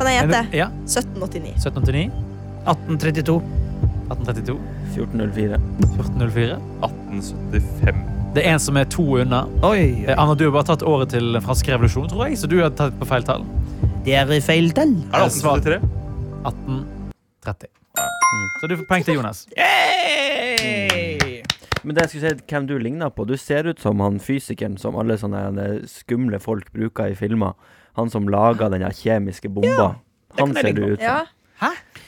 Speaker 2: Kan jeg
Speaker 3: Er
Speaker 2: gjette?
Speaker 3: det- Ja.
Speaker 2: 1789.
Speaker 3: 1789,
Speaker 4: 1832.
Speaker 3: 1832,
Speaker 5: 1404.
Speaker 3: 1404.
Speaker 6: 1875.
Speaker 3: Det er en som er to unna.
Speaker 4: Oi,
Speaker 3: Eh, Anna, du har bare tatt året til den franske revolusjon, tror jeg, så du har tatt på feil tall. Eh,
Speaker 4: det er feil tall.
Speaker 6: Er det 1873?
Speaker 3: 1830.
Speaker 4: Mm.
Speaker 3: Så du får poeng til Jonas.
Speaker 4: Hey!
Speaker 5: Men det jeg skulle si, hvem du ligner på Du ser ut som han fysikeren som alle sånne eh, skumle folk bruker i filmer. Han som lager den her kjemiske bomba. han
Speaker 4: kan jeg
Speaker 5: ser
Speaker 4: ligne
Speaker 5: du ut som.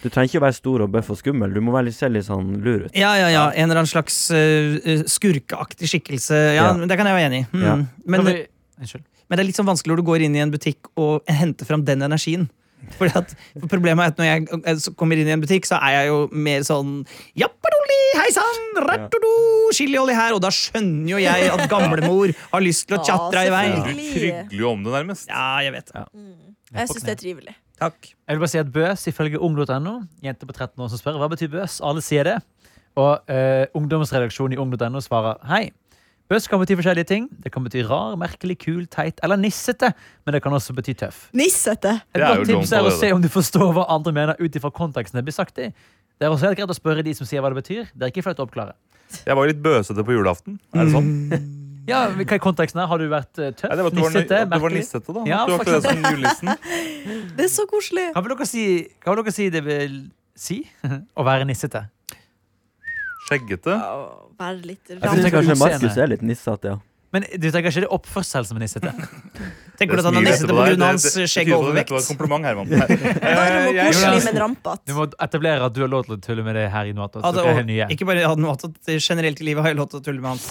Speaker 5: Du trenger ikke å være stor og bøff og skummel. Du må være litt- se litt sånn lur ut.
Speaker 4: Ja, ja, ja. En eller annen slags eh, eh, skurkeaktig skikkelse. Ja,
Speaker 5: Ja.
Speaker 4: men Det kan jeg være enig i. Hmm.
Speaker 5: Ja.
Speaker 3: Kan
Speaker 4: Men,
Speaker 3: vi- Unnskyld.
Speaker 4: men det er litt sånn vanskelig når du går inn i en butikk og henter fram den energien. Fordi at, for problemet er at når jeg eh, så kommer inn i en butikk, så er jeg jo mer sånn Jappadoli, hei sann, rattodo, chiliolje her. Og da skjønner jo jeg at gamlemor har lyst til å tjatra i vei.
Speaker 2: Ja,
Speaker 6: Du trygler jo om det nærmest.
Speaker 4: Ja, jeg vet det.
Speaker 2: Jeg syns det er trivelig.
Speaker 4: Takk.
Speaker 3: Jeg vil bare si at Bøs, ifølge ung.no, jente på 13 år som spør hva betyr bøs, alle sier det. Og eh, ungdomsredaksjonen i ung.no svarer hei. Bøs kan bety forskjellige ting. Det kan bety rar, merkelig, kul, teit eller nissete. Men det kan også bety tøff.
Speaker 2: Nissete.
Speaker 3: Et
Speaker 6: Det er jo
Speaker 3: godt tips
Speaker 6: dumt
Speaker 3: er å
Speaker 6: allerede.
Speaker 3: se om du forstår hva andre mener ut ifra konteksten det blir sagt i. Det er også helt greit å spørre de som sier hva det betyr. Det er ikke flaut å oppklare.
Speaker 6: Jeg var jo litt bøsete på julaften. Er det sånn?
Speaker 3: Ja, men Hva er konteksten her? Har du vært eh, tøff?
Speaker 6: Nei, det var at du var,
Speaker 3: nissete?
Speaker 6: at du var
Speaker 3: merkelig?
Speaker 6: nissete, da.
Speaker 3: Ja,
Speaker 6: du var ikke det som julenissen.
Speaker 2: Det er så koselig.
Speaker 3: Hva vil dere si, hva vil dere si det vil si å være nissete?
Speaker 6: Skjeggete.
Speaker 2: Å, Være litt
Speaker 5: Jeg
Speaker 3: synes
Speaker 5: syns
Speaker 2: rar.
Speaker 3: tenker
Speaker 5: kanskje
Speaker 3: utseende.
Speaker 5: Markus er litt nissete, ja.
Speaker 3: Men du tenker ikke det er oppførsel som er nissete?
Speaker 4: Tenker du at han
Speaker 6: Det
Speaker 4: har
Speaker 6: er
Speaker 4: nissete
Speaker 6: smilet på
Speaker 4: pga.
Speaker 6: deg. Det-
Speaker 4: hans
Speaker 6: det- det
Speaker 4: skjegg
Speaker 6: tyder
Speaker 4: og
Speaker 6: på at dette var et
Speaker 4: overvekt?
Speaker 6: kompliment, Herman. Eh,
Speaker 2: Varm og
Speaker 6: jeg-
Speaker 2: koselig,
Speaker 3: Jonas.
Speaker 2: men rampete.
Speaker 3: Du må etablere at du har lov til å tulle med det her i Noatot.
Speaker 4: Altså,
Speaker 3: Dere er
Speaker 4: og
Speaker 3: nye.
Speaker 4: ikke bare hadde noe annet, at generelt i livet har jeg lov til å tulle med hans.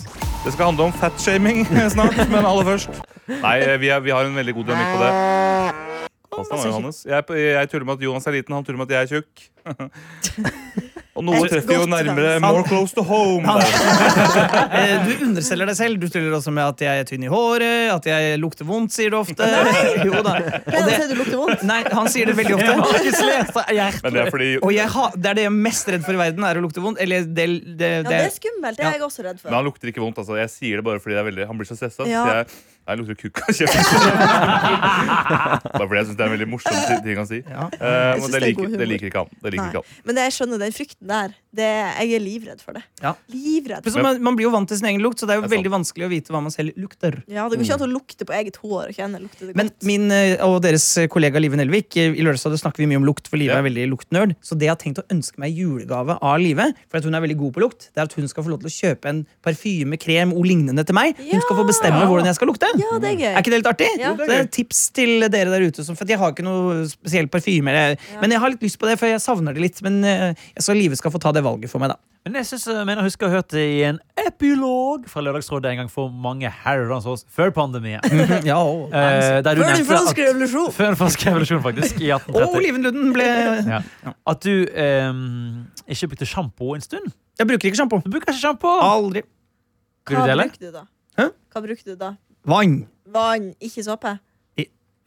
Speaker 6: Det skal handle om fatshaming snart, men aller først. Nei, eh, vi, er, vi har en veldig god dynamikk på det. Pass deg nå, Johannes. Jeg, jeg tuller med at Jonas er liten, han tuller med at jeg er tjukk. Og noe
Speaker 2: Et
Speaker 6: treffer jo
Speaker 2: godt
Speaker 6: nærmere
Speaker 2: dans.
Speaker 6: more close to home.
Speaker 4: Han-
Speaker 6: Der.
Speaker 4: Eh, Du underselger deg selv. Du tuller også med at jeg er tynn i håret, at jeg lukter vondt, sier du ofte. Jo da.
Speaker 2: Pleier du
Speaker 4: Og
Speaker 2: å
Speaker 4: det,
Speaker 2: si du lukter vondt?
Speaker 4: nei, han sier det veldig ofte.
Speaker 6: Men det er fordi
Speaker 4: Og jeg ha, det er det jeg er mest redd for i verden, er å lukte vondt. Eller det, det,
Speaker 2: Ja, det
Speaker 4: det.
Speaker 2: er skummelt. Det er jeg også redd
Speaker 6: Men
Speaker 2: for.
Speaker 6: han lukter ikke vondt, altså. Jeg sier det bare fordi det er veldig, han blir så stressa.
Speaker 2: Ja.
Speaker 6: Så jeg, jeg lukter kukk av kjeften. Bare fordi jeg syns det er en veldig morsom ti- ting han sier.
Speaker 4: Ja.
Speaker 6: Eh,
Speaker 2: Jeg synes det
Speaker 6: men
Speaker 2: er god
Speaker 6: det liker,
Speaker 2: humor.
Speaker 6: det liker ikke han. Det liker
Speaker 2: Nei.
Speaker 6: ikke han.
Speaker 2: Men det, jeg skjønner den frykten der. Det, jeg er livredd for det.
Speaker 4: Ja.
Speaker 2: Livredd.
Speaker 4: Men så Man, man blir jo vant til sin egen lukt, så det er jo
Speaker 6: Det er sant.
Speaker 4: veldig vanskelig å vite hva man selv lukter.
Speaker 2: Ja, Det går ikke an å lukte på eget hår og kjenne lukter det
Speaker 4: Men
Speaker 2: godt.
Speaker 4: min eh, og deres kollega Live Nelvik, eh, i Lørdagsrådet snakker vi mye om lukt, for Live er
Speaker 6: Ja.
Speaker 4: veldig luktnerd. Så det jeg har tenkt å ønske meg i julegave av Live, for at hun er veldig god på lukt, det er at hun skal få lov til å kjøpe en parfyme, krem og lignende til meg.
Speaker 2: Ja.
Speaker 4: Hun skal få bestemme hvordan jeg skal lukte.
Speaker 2: Ja, det er gøy.
Speaker 4: Er ikke det litt artig?
Speaker 2: Ja. Jo, det
Speaker 4: Så det er et tips til dere der ute. som- For at jeg har ikke noe spesiell parfyme. eller- Men jeg har litt lyst på det, for jeg savner det litt. Men eh, jeg skal Live skal få ta det valget for meg, da.
Speaker 3: Men jeg synes, jeg mener jeg husker å ha hørt det i en epilog fra Lørdagsrådet en gang for mange herrens år før pandemien.
Speaker 4: ja, og-
Speaker 3: Eh, der du
Speaker 2: Før den
Speaker 3: nevnte at-
Speaker 2: franske revolusjon!
Speaker 3: Før den franske revolusjonen, faktisk. I
Speaker 4: og
Speaker 3: 1830.
Speaker 4: Oliven Lunden ble
Speaker 3: Ja. At du ehm, ikke brukte sjampo en stund.
Speaker 4: Jeg bruker ikke sjampo.
Speaker 3: Du bruker ikke sjampo!
Speaker 4: Aldri.
Speaker 3: Vil du
Speaker 2: Hva
Speaker 3: dele?
Speaker 2: brukte du da?
Speaker 4: Hæ?
Speaker 2: Hva brukte du da?
Speaker 4: Vann.
Speaker 2: Vann, ikke såpe?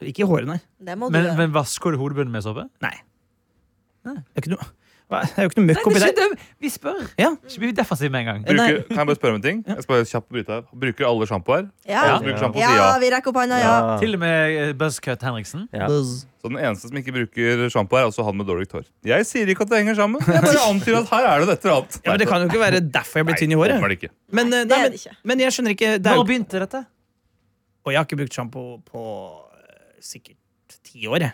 Speaker 4: Ikke i håret, nei.
Speaker 2: Det må du
Speaker 3: Men,
Speaker 2: gjøre.
Speaker 3: men vasker du hodebunnen med såpe?
Speaker 4: Det er ikke noe, Hva- det er jo ikke noe møkk
Speaker 3: Nei,
Speaker 4: oppi der.
Speaker 3: det er ikke det. Vi spør.
Speaker 4: Ja.
Speaker 3: Ikke bli defensiv med en gang.
Speaker 6: Bruker,
Speaker 4: Nei.
Speaker 6: kan jeg bare spørre om en ting? Jeg skal bare kjapt bryte her. Bruker alle sjampoer? Alle
Speaker 2: Ja.
Speaker 6: som bruker sjampo,
Speaker 2: ja,
Speaker 6: sier ja.
Speaker 2: vi rekker opp hånda, ja.
Speaker 3: Til og med eh, Buzzcut Henriksen.
Speaker 5: Ja.
Speaker 4: Buzz.
Speaker 6: Så den eneste som ikke bruker sjampo, er altså han med dårlig hår. Jeg sier ikke at det henger sammen. Jeg bare antyder at her er det et eller annet.
Speaker 4: Ja, men Det kan jo ikke være derfor jeg ble tynn i
Speaker 6: Nei,
Speaker 4: håret.
Speaker 6: åpenbart ikke.
Speaker 4: Men, eh,
Speaker 2: det
Speaker 4: nei,
Speaker 2: er
Speaker 4: men,
Speaker 2: det ikke.
Speaker 4: men jeg skjønner ikke det er,
Speaker 3: Når
Speaker 4: jo-
Speaker 3: begynte dette?
Speaker 4: Og jeg har ikke brukt sjampo på eh, sikkert ti år. jeg.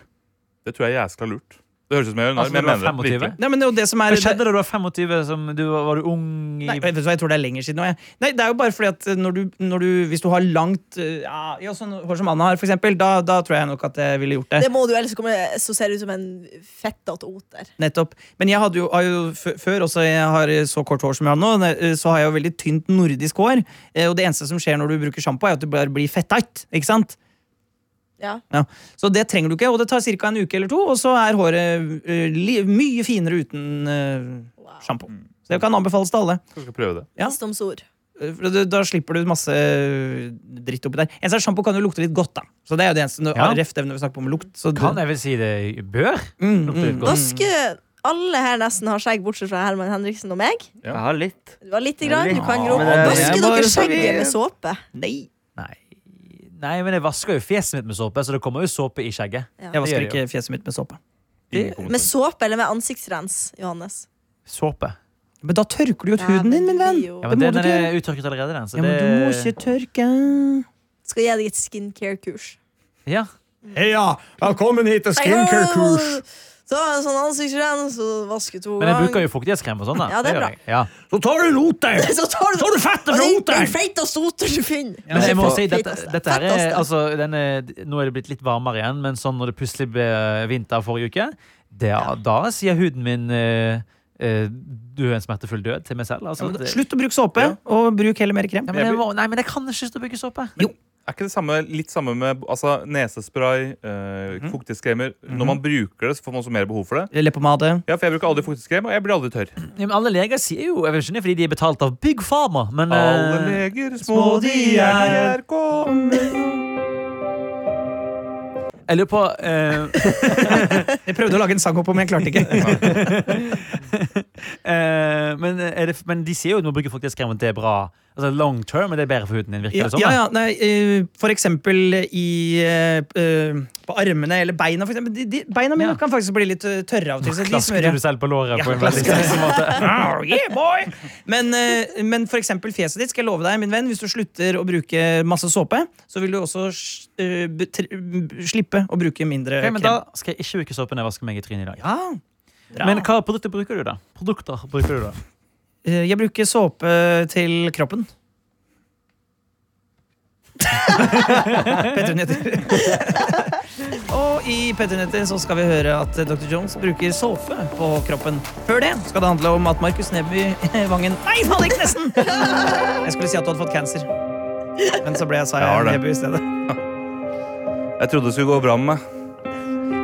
Speaker 6: Det tror jeg jeg skal ha lurt. Det høres ut som jeg gjør narr,
Speaker 3: Altså,
Speaker 6: men
Speaker 3: når
Speaker 6: jeg
Speaker 3: du
Speaker 6: mener
Speaker 3: var
Speaker 6: det
Speaker 3: 25?
Speaker 6: virkelig.
Speaker 4: Nei, men det er jo det som er
Speaker 3: Hva skjedde da du var 25? Som du, var- var du ung i
Speaker 4: Nei, vet du hva, jeg tror det er lenger siden. også, jeg. Nei, det er jo bare fordi at eh, når du, når du, Hvis du har langt eh, ja, ja, sånn hår som Anna har, for eksempel, da, da tror jeg nok at jeg ville gjort det.
Speaker 2: Det må du, ellers så kommer- så ser du ut som en fettete oter.
Speaker 4: Nettopp. Men jeg hadde jo, har jo f før også jeg har eh, så kort hår som jeg har nå, ne- eh, så har jeg jo veldig tynt nordisk hår. eh, Og det eneste som skjer når du bruker sjampo, er at du bare blir fetteit. Ikke sant?
Speaker 2: Ja.
Speaker 4: Ja. Så det trenger du ikke, og det tar ca. en uke eller to, og så er håret eh, li mye finere uten uh,
Speaker 2: Wow.
Speaker 4: sjampo.
Speaker 3: Mm.
Speaker 4: Så det kan anbefales til alle.
Speaker 6: Kanskje vi skal prøve det.
Speaker 4: Ja.
Speaker 2: Visdomsord.
Speaker 4: Eh, for Da, da slipper du masse eh, dritt oppi der. En slags sjampo kan jo lukte litt godt, da. Så det er jo det eneste
Speaker 3: Ja.
Speaker 4: ref det når vi snakker om lukt. Så det-
Speaker 3: Kan jeg vel si det bør?
Speaker 4: Mm,
Speaker 3: Lukter litt
Speaker 4: mm.
Speaker 3: godt.
Speaker 2: Da skulle alle her nesten ha skjegg, bortsett fra Herman Henriksen og meg.
Speaker 6: Ja.
Speaker 5: Jeg har litt.
Speaker 2: Du har lite grann, du kan gro.
Speaker 5: Ja, men det-
Speaker 2: Da
Speaker 4: det
Speaker 2: skulle
Speaker 4: er bare
Speaker 2: dere
Speaker 4: så vi-
Speaker 2: skjegget med såpe.
Speaker 4: Nei,
Speaker 3: Nei. Nei, men jeg vasker jo fjeset mitt med såpe, så det kommer jo såpe i skjegget.
Speaker 4: jeg vasker
Speaker 3: Det gjør
Speaker 4: ikke fjeset mitt med såpe.
Speaker 6: Ingen kommentar.
Speaker 2: Med såpe eller med ansiktsrens, Johannes?
Speaker 3: Såpe.
Speaker 4: Men da tørker du jo ut huden din, min venn!
Speaker 3: Ja,
Speaker 2: Ja,
Speaker 3: men
Speaker 4: Det
Speaker 3: den
Speaker 4: må du ikke
Speaker 3: er uttørket allerede, den. Så
Speaker 4: Ja, men
Speaker 3: det...
Speaker 4: du må ikke tørke.
Speaker 2: Skal gi deg et skincare-kurs.
Speaker 3: Ja.
Speaker 4: Heia! Velkommen hit til
Speaker 2: Så har jeg sånn ansiktsrens og vaske to
Speaker 3: Men jeg bruker jo fuktighetskrem og sånn. da.
Speaker 2: Ja, det er
Speaker 3: gjør
Speaker 2: bra.
Speaker 3: jeg. Ja.
Speaker 4: Så tar du lot deg!
Speaker 2: Så tar du
Speaker 4: Så du fettet fra
Speaker 2: Den-
Speaker 4: roteren!
Speaker 2: Den feiteste roteren du finner.
Speaker 3: Men jeg må
Speaker 5: Fett-
Speaker 3: si, dette,
Speaker 2: fetteste.
Speaker 3: dette her er,
Speaker 2: Fetteste.
Speaker 3: altså, denne, Nå er det blitt litt varmere igjen, men sånn når det plutselig ble eh, vinter forrige uke, det, da sier huden min eh, eh, du er en smertefull død til meg selv. Altså, det,
Speaker 4: Slutt å bruke såpe, og bruk heller mer krem.
Speaker 3: Ja, men jeg må, nei, men jeg kan ikke slutte å bruke såpe.
Speaker 6: Er ikke det samme, litt samme med altså, nesespray, eh,
Speaker 4: Mhm.
Speaker 6: fuktighetskremer? Når man bruker det, så får man også mer behov for det.
Speaker 4: Leppepomade.
Speaker 6: Ja, for Jeg bruker aldri fuktighetskrem, og jeg blir aldri tørr.
Speaker 3: Ja, men alle leger sier jo Jeg vet ikke om det er fordi de er betalt av Big Pharma, men
Speaker 6: Alle
Speaker 3: eh,
Speaker 6: leger, små de er, kom
Speaker 3: jeg lurer på eh,
Speaker 4: Jeg prøvde å lage en sang opp om, men jeg klarte ikke.
Speaker 3: eh, men, er det, men de sier jo at man bruker fuktighetskrem, at det er bra. Altså long term, men det er bedre for huden din, virker
Speaker 4: Ja,
Speaker 3: det sånn, som.
Speaker 4: ja,
Speaker 3: da?
Speaker 4: ja, nei, eh, for eksempel i eh, eh, På armene eller beina, for eksempel. De, de, beina mine
Speaker 3: Ja.
Speaker 4: kan faktisk bli litt eh, tørre av og til. Så de
Speaker 3: Klasker
Speaker 4: smører
Speaker 3: du
Speaker 4: jeg.
Speaker 3: selv på låret
Speaker 4: Ja,
Speaker 3: på en veldig
Speaker 4: klasker.
Speaker 3: sexy måte?
Speaker 4: Arr, yeah, boy! Men, eh, men for eksempel fjeset ditt, skal jeg love deg, min venn, hvis du slutter å bruke masse såpe, så vil du også sj- eh, be- tr- slippe å bruke mindre
Speaker 3: Ok, men
Speaker 4: krem.
Speaker 3: da skal jeg ikke bruke såpe når jeg vasker meg i trynet i dag.
Speaker 4: Ja, bra.
Speaker 3: Men hva produkter bruker du, da? Produkter bruker du da?
Speaker 4: Eh, Jeg bruker såpe til kroppen. P3 Nyheter. Og i P3 Nyheter så skal vi høre at Dr. Jones bruker såpe på kroppen. Før det skal det handle om at Markus Neby Vangen Nei, faen ikke nesten! Jeg skulle si at du hadde fått cancer. Men så ble jeg sa
Speaker 6: Jeg har
Speaker 4: jeg
Speaker 6: det.
Speaker 4: Neby i stedet.
Speaker 6: Jeg trodde det skulle gå bra med meg.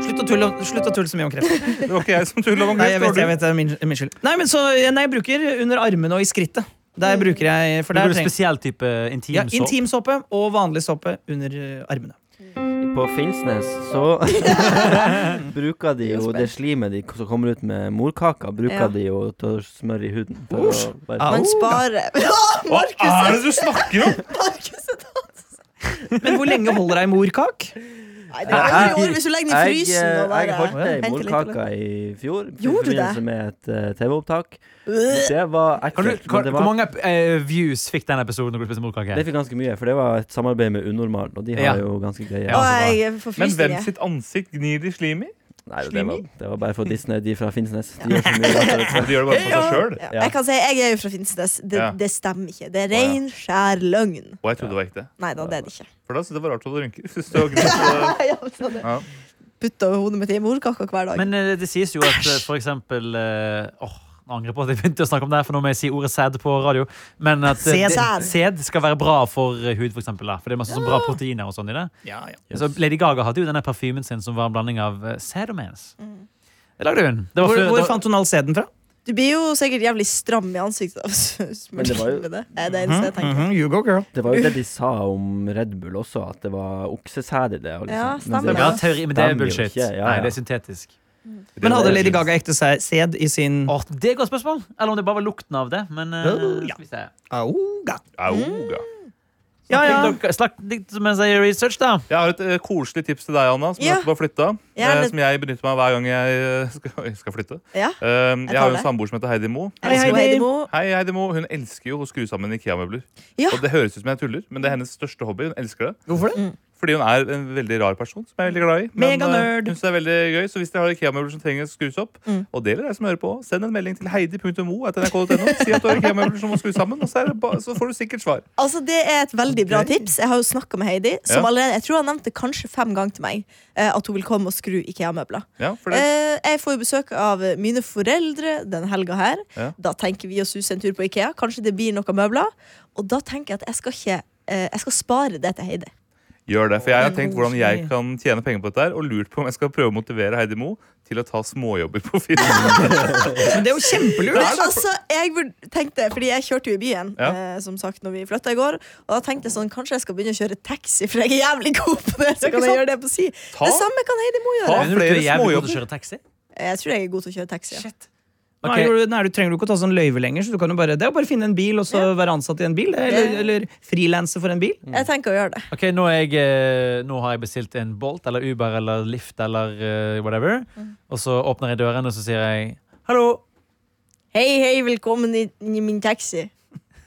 Speaker 4: Slutt å tulle, slutt å tulle så mye om kreft.
Speaker 6: Det var ikke jeg som tulla om
Speaker 4: Nei, jeg vet,
Speaker 6: kreft.
Speaker 4: jeg vet, det er min, min skyld. Nei, men så, nei, jeg bruker under armene og i skrittet. Der bruker jeg for der
Speaker 3: Bruker du
Speaker 4: trenger-
Speaker 3: spesiell type intim
Speaker 4: Ja,
Speaker 3: såpe?
Speaker 4: Intimsåpe og vanlig såpe under eh, armene.
Speaker 5: På Finnsnes så bruker de jo det slimet de, som kommer ut med morkaka, bruker
Speaker 2: Ja.
Speaker 5: de jo til å smøre i huden. For å sånn.
Speaker 4: Au.
Speaker 5: bare,
Speaker 2: Man sparer Ja,
Speaker 6: Hva er
Speaker 2: Markus!
Speaker 6: det du snakker om?!
Speaker 2: Markus er tatt.
Speaker 4: Men hvor lenge holder ei morkak?
Speaker 2: Nei, det er jo ord hvis du legger den i
Speaker 5: jeg,
Speaker 2: frysen.
Speaker 5: eh,
Speaker 2: og bare-
Speaker 5: jeg holdt ei
Speaker 2: Vent litt,
Speaker 5: morkaka i fjor i
Speaker 2: Gjorde du det?
Speaker 5: forbindelse med et eh, TV-opptak.
Speaker 2: Øh.
Speaker 5: Det var
Speaker 3: Kan du,
Speaker 5: ekkelt.
Speaker 3: kan,
Speaker 5: men det,
Speaker 3: hvor
Speaker 5: var,
Speaker 3: mange eh, views fikk den episoden? Når du spiste morkake?
Speaker 5: det fikk ganske mye, for det var et samarbeid med Unormalen, og de
Speaker 3: Ja.
Speaker 5: har jo ganske greie
Speaker 3: Ja,
Speaker 2: Og
Speaker 3: så bra.
Speaker 2: jeg får
Speaker 6: Men
Speaker 2: frysninger.
Speaker 6: hvem sitt ansikt gnir de slim i?
Speaker 5: Nei, det var,
Speaker 6: Slimi?
Speaker 5: det var bare for Disney, de fra Finnsnes. De gjør så mye rart. vet du.
Speaker 6: De gjør det bare for seg sjøl.
Speaker 2: Ja.
Speaker 5: Ja.
Speaker 2: Jeg kan si jeg er jo fra Finnsnes. Det,
Speaker 6: Ja.
Speaker 2: det stemmer ikke. Det er ren, skjær løgn.
Speaker 6: Og jeg trodde det var ekte.
Speaker 2: Nei da, det er det ikke.
Speaker 6: For da syntes jeg det var rart at du rynker. Synes det var greit. Ja.
Speaker 2: Putta hodet mitt i morkaka hver dag.
Speaker 3: Men eh, det sies jo at eh, for eksempel eh, Åh, nå angrer jeg på at jeg begynte å snakke om det, her, for nå må jeg si ordet sæd på radio. Men at eh,
Speaker 2: Sæd.
Speaker 3: det- sæd skal være bra for eh, hud, for eksempel. Da. For det er masse sånn bra proteiner og sånn i det.
Speaker 4: Ja, ja.
Speaker 3: Så Lady Gaga hadde jo denne parfymen sin som var en blanding av eh, sæd og mens. Det lagde hun. Det var
Speaker 4: Hvor,
Speaker 3: før-
Speaker 4: hvor
Speaker 3: da-
Speaker 4: fant hun all sæden fra?
Speaker 2: Du blir jo sikkert jævlig stram i ansiktet av
Speaker 5: Men det var jo-
Speaker 2: smørkniven. Det er det eneste jeg tenker.
Speaker 4: Mhm, you go, girl.
Speaker 5: Det var jo det de sa om Red Bull også, at det var oksesæd i det. Og liksom.
Speaker 2: Ja,
Speaker 5: Men
Speaker 2: stemmer
Speaker 5: det
Speaker 3: Ja,
Speaker 2: det.
Speaker 3: vi har
Speaker 5: var-
Speaker 3: teori, men det er
Speaker 5: Stemmer jo
Speaker 3: bullshit.
Speaker 5: ikke, ja, ja.
Speaker 3: Nei, det er syntetisk.
Speaker 4: Men hadde Lady Gaga ekte sæ- sæd i sin
Speaker 3: Åh, det er et godt spørsmål. Eller om det bare var lukten av det. Men eh,
Speaker 4: Mm. Oh, ja.
Speaker 3: skal vi se.
Speaker 4: Auga.
Speaker 6: Auga.
Speaker 4: Ja, ja.
Speaker 3: Snakk litt- Snakk litt mens jeg gjør research, da.
Speaker 6: Jeg har et eh, koselig tips til deg, Anna, som
Speaker 2: Ja.
Speaker 6: nettopp har flytta.
Speaker 2: Gjerne.
Speaker 6: Som jeg benytter meg av hver gang jeg eh, skal, skal flytte.
Speaker 2: Ja.
Speaker 6: Eh, jeg har jo
Speaker 2: det.
Speaker 6: en samboer som heter Heidi Mo.
Speaker 2: Jeg elsker
Speaker 4: Heidi.
Speaker 2: Heidemo.
Speaker 6: Hei, Heidi Mo. Hun elsker jo å skru sammen Ikea-møbler.
Speaker 2: Ja.
Speaker 6: Og det høres ut som jeg tuller, men det er hennes største hobby. Hun elsker det.
Speaker 4: Hvorfor det?
Speaker 6: Fordi hun er en veldig rar person som jeg er veldig glad i. Men eh,
Speaker 4: Meganerd.
Speaker 6: hun synes det er veldig gøy, så hvis dere har Ikea-møbler som trenger å skrus opp,
Speaker 4: Mm.
Speaker 6: og det gjelder deg som hører på, send en melding til heidi.mo etter nrk.no. Si at du har Ikea-møbler som må skrus sammen, og så, er det ba så får du sikkert svar.
Speaker 2: Altså, Det er et veldig bra tips. Jeg har jo snakka med Heidi. Som
Speaker 6: Ja.
Speaker 2: allerede, Jeg tror han nevnte kanskje fem ganger til meg eh, at hun vil komme og skru Ikea-møbler.
Speaker 6: Ja, for det.
Speaker 2: Eh, jeg får jo besøk av mine foreldre den helga her.
Speaker 6: Ja.
Speaker 2: Da tenker vi å suse en tur på Ikea. Kanskje det blir noen møbler. Og da tenker jeg at jeg skal ikke eh, Jeg skal spare det til Heidi.
Speaker 6: Gjør det. For jeg har
Speaker 4: Det er
Speaker 6: tenkt hvordan jeg
Speaker 4: koselig.
Speaker 6: kan tjene penger på dette, her, og lurt på om jeg skal prøve å motivere Heidi Mo til å ta småjobber på firmaet.
Speaker 4: Men det er jo kjempelurt!
Speaker 2: Men altså, jeg burde- tenkte, fordi jeg kjørte jo i byen
Speaker 6: Ja.
Speaker 2: eh, Som sagt når vi flytta i går Og da tenkte jeg sånn, kanskje jeg skal begynne å kjøre taxi For jeg er jævlig god på det Så kan
Speaker 6: ikke
Speaker 2: jeg
Speaker 6: sant?
Speaker 2: gjøre det på si
Speaker 6: Ta-
Speaker 2: Det samme kan Heidi Mo gjøre
Speaker 3: Mener
Speaker 6: Ta-
Speaker 3: du ikke du
Speaker 6: flere
Speaker 3: er jævlig god
Speaker 6: småjobber?
Speaker 3: til å kjøre taxi?
Speaker 2: Jeg tror jeg er god til å kjøre taxi ja.
Speaker 3: Shit.
Speaker 4: Nå
Speaker 3: Ok.
Speaker 4: er jo- nå er du, trenger du ikke å ta sånn løyve lenger. Så du kan jo bare, det er jo bare å finne en bil og så være ansatt i en bil. Eller, eller frilanse for en bil.
Speaker 2: Jeg tenker å gjøre det
Speaker 3: Ok, nå, er jeg, eh, nå har jeg bestilt en Bolt eller Uber eller Lyft eller eh, whatever.
Speaker 2: Mm.
Speaker 3: Og så åpner jeg døren, og så sier jeg hallo.
Speaker 2: Hei, hei, velkommen i, i min taxi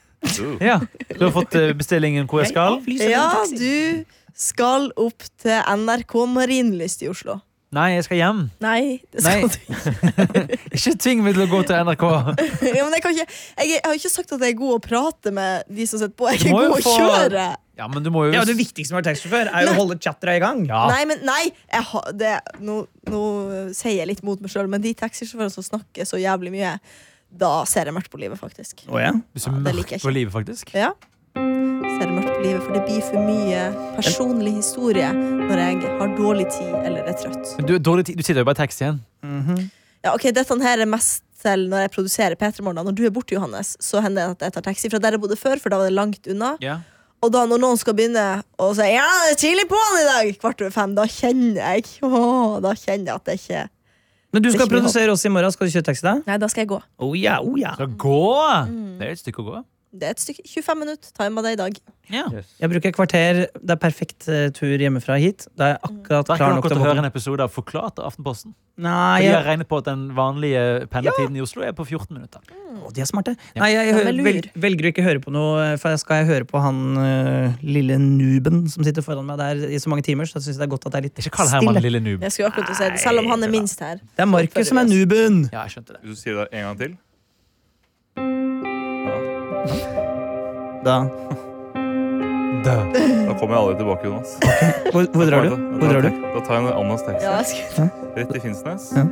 Speaker 3: Ja, Du har fått eh, bestillingen hvor jeg skal?
Speaker 4: avlyser
Speaker 2: Ja,
Speaker 4: den taxi.
Speaker 2: du skal opp til NRK Marienlyst i Oslo
Speaker 3: Nei, jeg skal hjem.
Speaker 2: Nei, det skal
Speaker 3: Nei.
Speaker 2: du
Speaker 3: Ikke tving meg til å gå til NRK.
Speaker 2: ja, men jeg, kan ikke, jeg, jeg har ikke sagt at jeg er god å prate med de som sitter på.
Speaker 3: Du
Speaker 2: Jeg er
Speaker 3: må jo
Speaker 2: god å
Speaker 3: få-
Speaker 2: kjøre.
Speaker 3: Ja, men du må jo
Speaker 4: Ja, det viktigste med å være taxisjåfør er jo å holde chattera i gang.
Speaker 3: Ja.
Speaker 2: Nei, men nei! Jeg har- det, nå, nå eh, sier jeg litt mot meg sjøl, men de taxisjåførene som snakker så jævlig mye, da ser jeg mørkt på livet, faktisk.
Speaker 4: Å, ja.
Speaker 3: Du ser
Speaker 2: Ja, det
Speaker 3: mørkt
Speaker 2: liker jeg
Speaker 3: på livet, faktisk.
Speaker 2: Ja. Ser jeg mørkt på livet, for det blir for mye personlig historie når jeg har dårlig tid eller er trøtt.
Speaker 3: Men Du, er dårlig tid. du sitter jo bare i taxien.
Speaker 2: Ja, ok, Dette her er mest til når jeg produserer P3morgen. Når du er borte, Johannes, så hender det at jeg tar taxi fra der jeg bodde før, for da var det langt unna.
Speaker 3: Ja.
Speaker 2: Og da når noen skal begynne å si Ja, det er tidlig på'n i dag, kvart over fem, da kjenner jeg åh, Da kjenner jeg at det ikke
Speaker 4: Men du
Speaker 2: Det er
Speaker 4: skal
Speaker 2: ikke mye
Speaker 4: produsere oss i morgen. Skal du kjøre taxi da?
Speaker 2: Nei, da skal jeg gå.
Speaker 4: Oh, ja, oh, ja.
Speaker 3: Så gå!
Speaker 2: Mm.
Speaker 3: Det er jo et stykke å gå.
Speaker 2: Det er et stykke 25 minutter. Time av det i dag.
Speaker 3: Ja.
Speaker 5: Yes.
Speaker 4: Jeg bruker et kvarter. Det er perfekt eh, tur hjemmefra hit.
Speaker 3: Mm.
Speaker 4: Da er jeg akkurat
Speaker 3: Da
Speaker 4: klar
Speaker 3: kan
Speaker 4: nok til
Speaker 3: dere
Speaker 4: å
Speaker 3: høre
Speaker 4: våkne.
Speaker 3: en episode av Forklart av Aftenposten.
Speaker 4: Nei,
Speaker 3: For De har
Speaker 4: jeg,
Speaker 3: regnet på at den vanlige pendlertiden i Oslo er på 14 minutter.
Speaker 4: å, de er smarte. Nei, jeg
Speaker 2: Ja,
Speaker 4: hø-
Speaker 2: men lur.
Speaker 4: vel, velger å ikke høre på noe, for jeg skal jeg høre på han eh, lille nuben som sitter foran meg der i så mange timer, så jeg synes det er godt at det er litt
Speaker 3: Ikke kall Herman
Speaker 4: stille.
Speaker 3: lille noob.
Speaker 2: Jeg skulle akkurat til å si det, Selv om han er minst her.
Speaker 4: Det er Markus som er nuben!
Speaker 3: Ja, jeg skjønte det.
Speaker 6: Hvis du sier det en gang til.
Speaker 4: Da.
Speaker 6: Da kommer jeg aldri tilbake, Jonas.
Speaker 4: Hvor, hvor drar du? Hvor drar du?
Speaker 6: Da tar jeg en ananas taxi.
Speaker 2: Ja, jeg skulle-
Speaker 6: Rett til Finnsnes.
Speaker 4: Ja.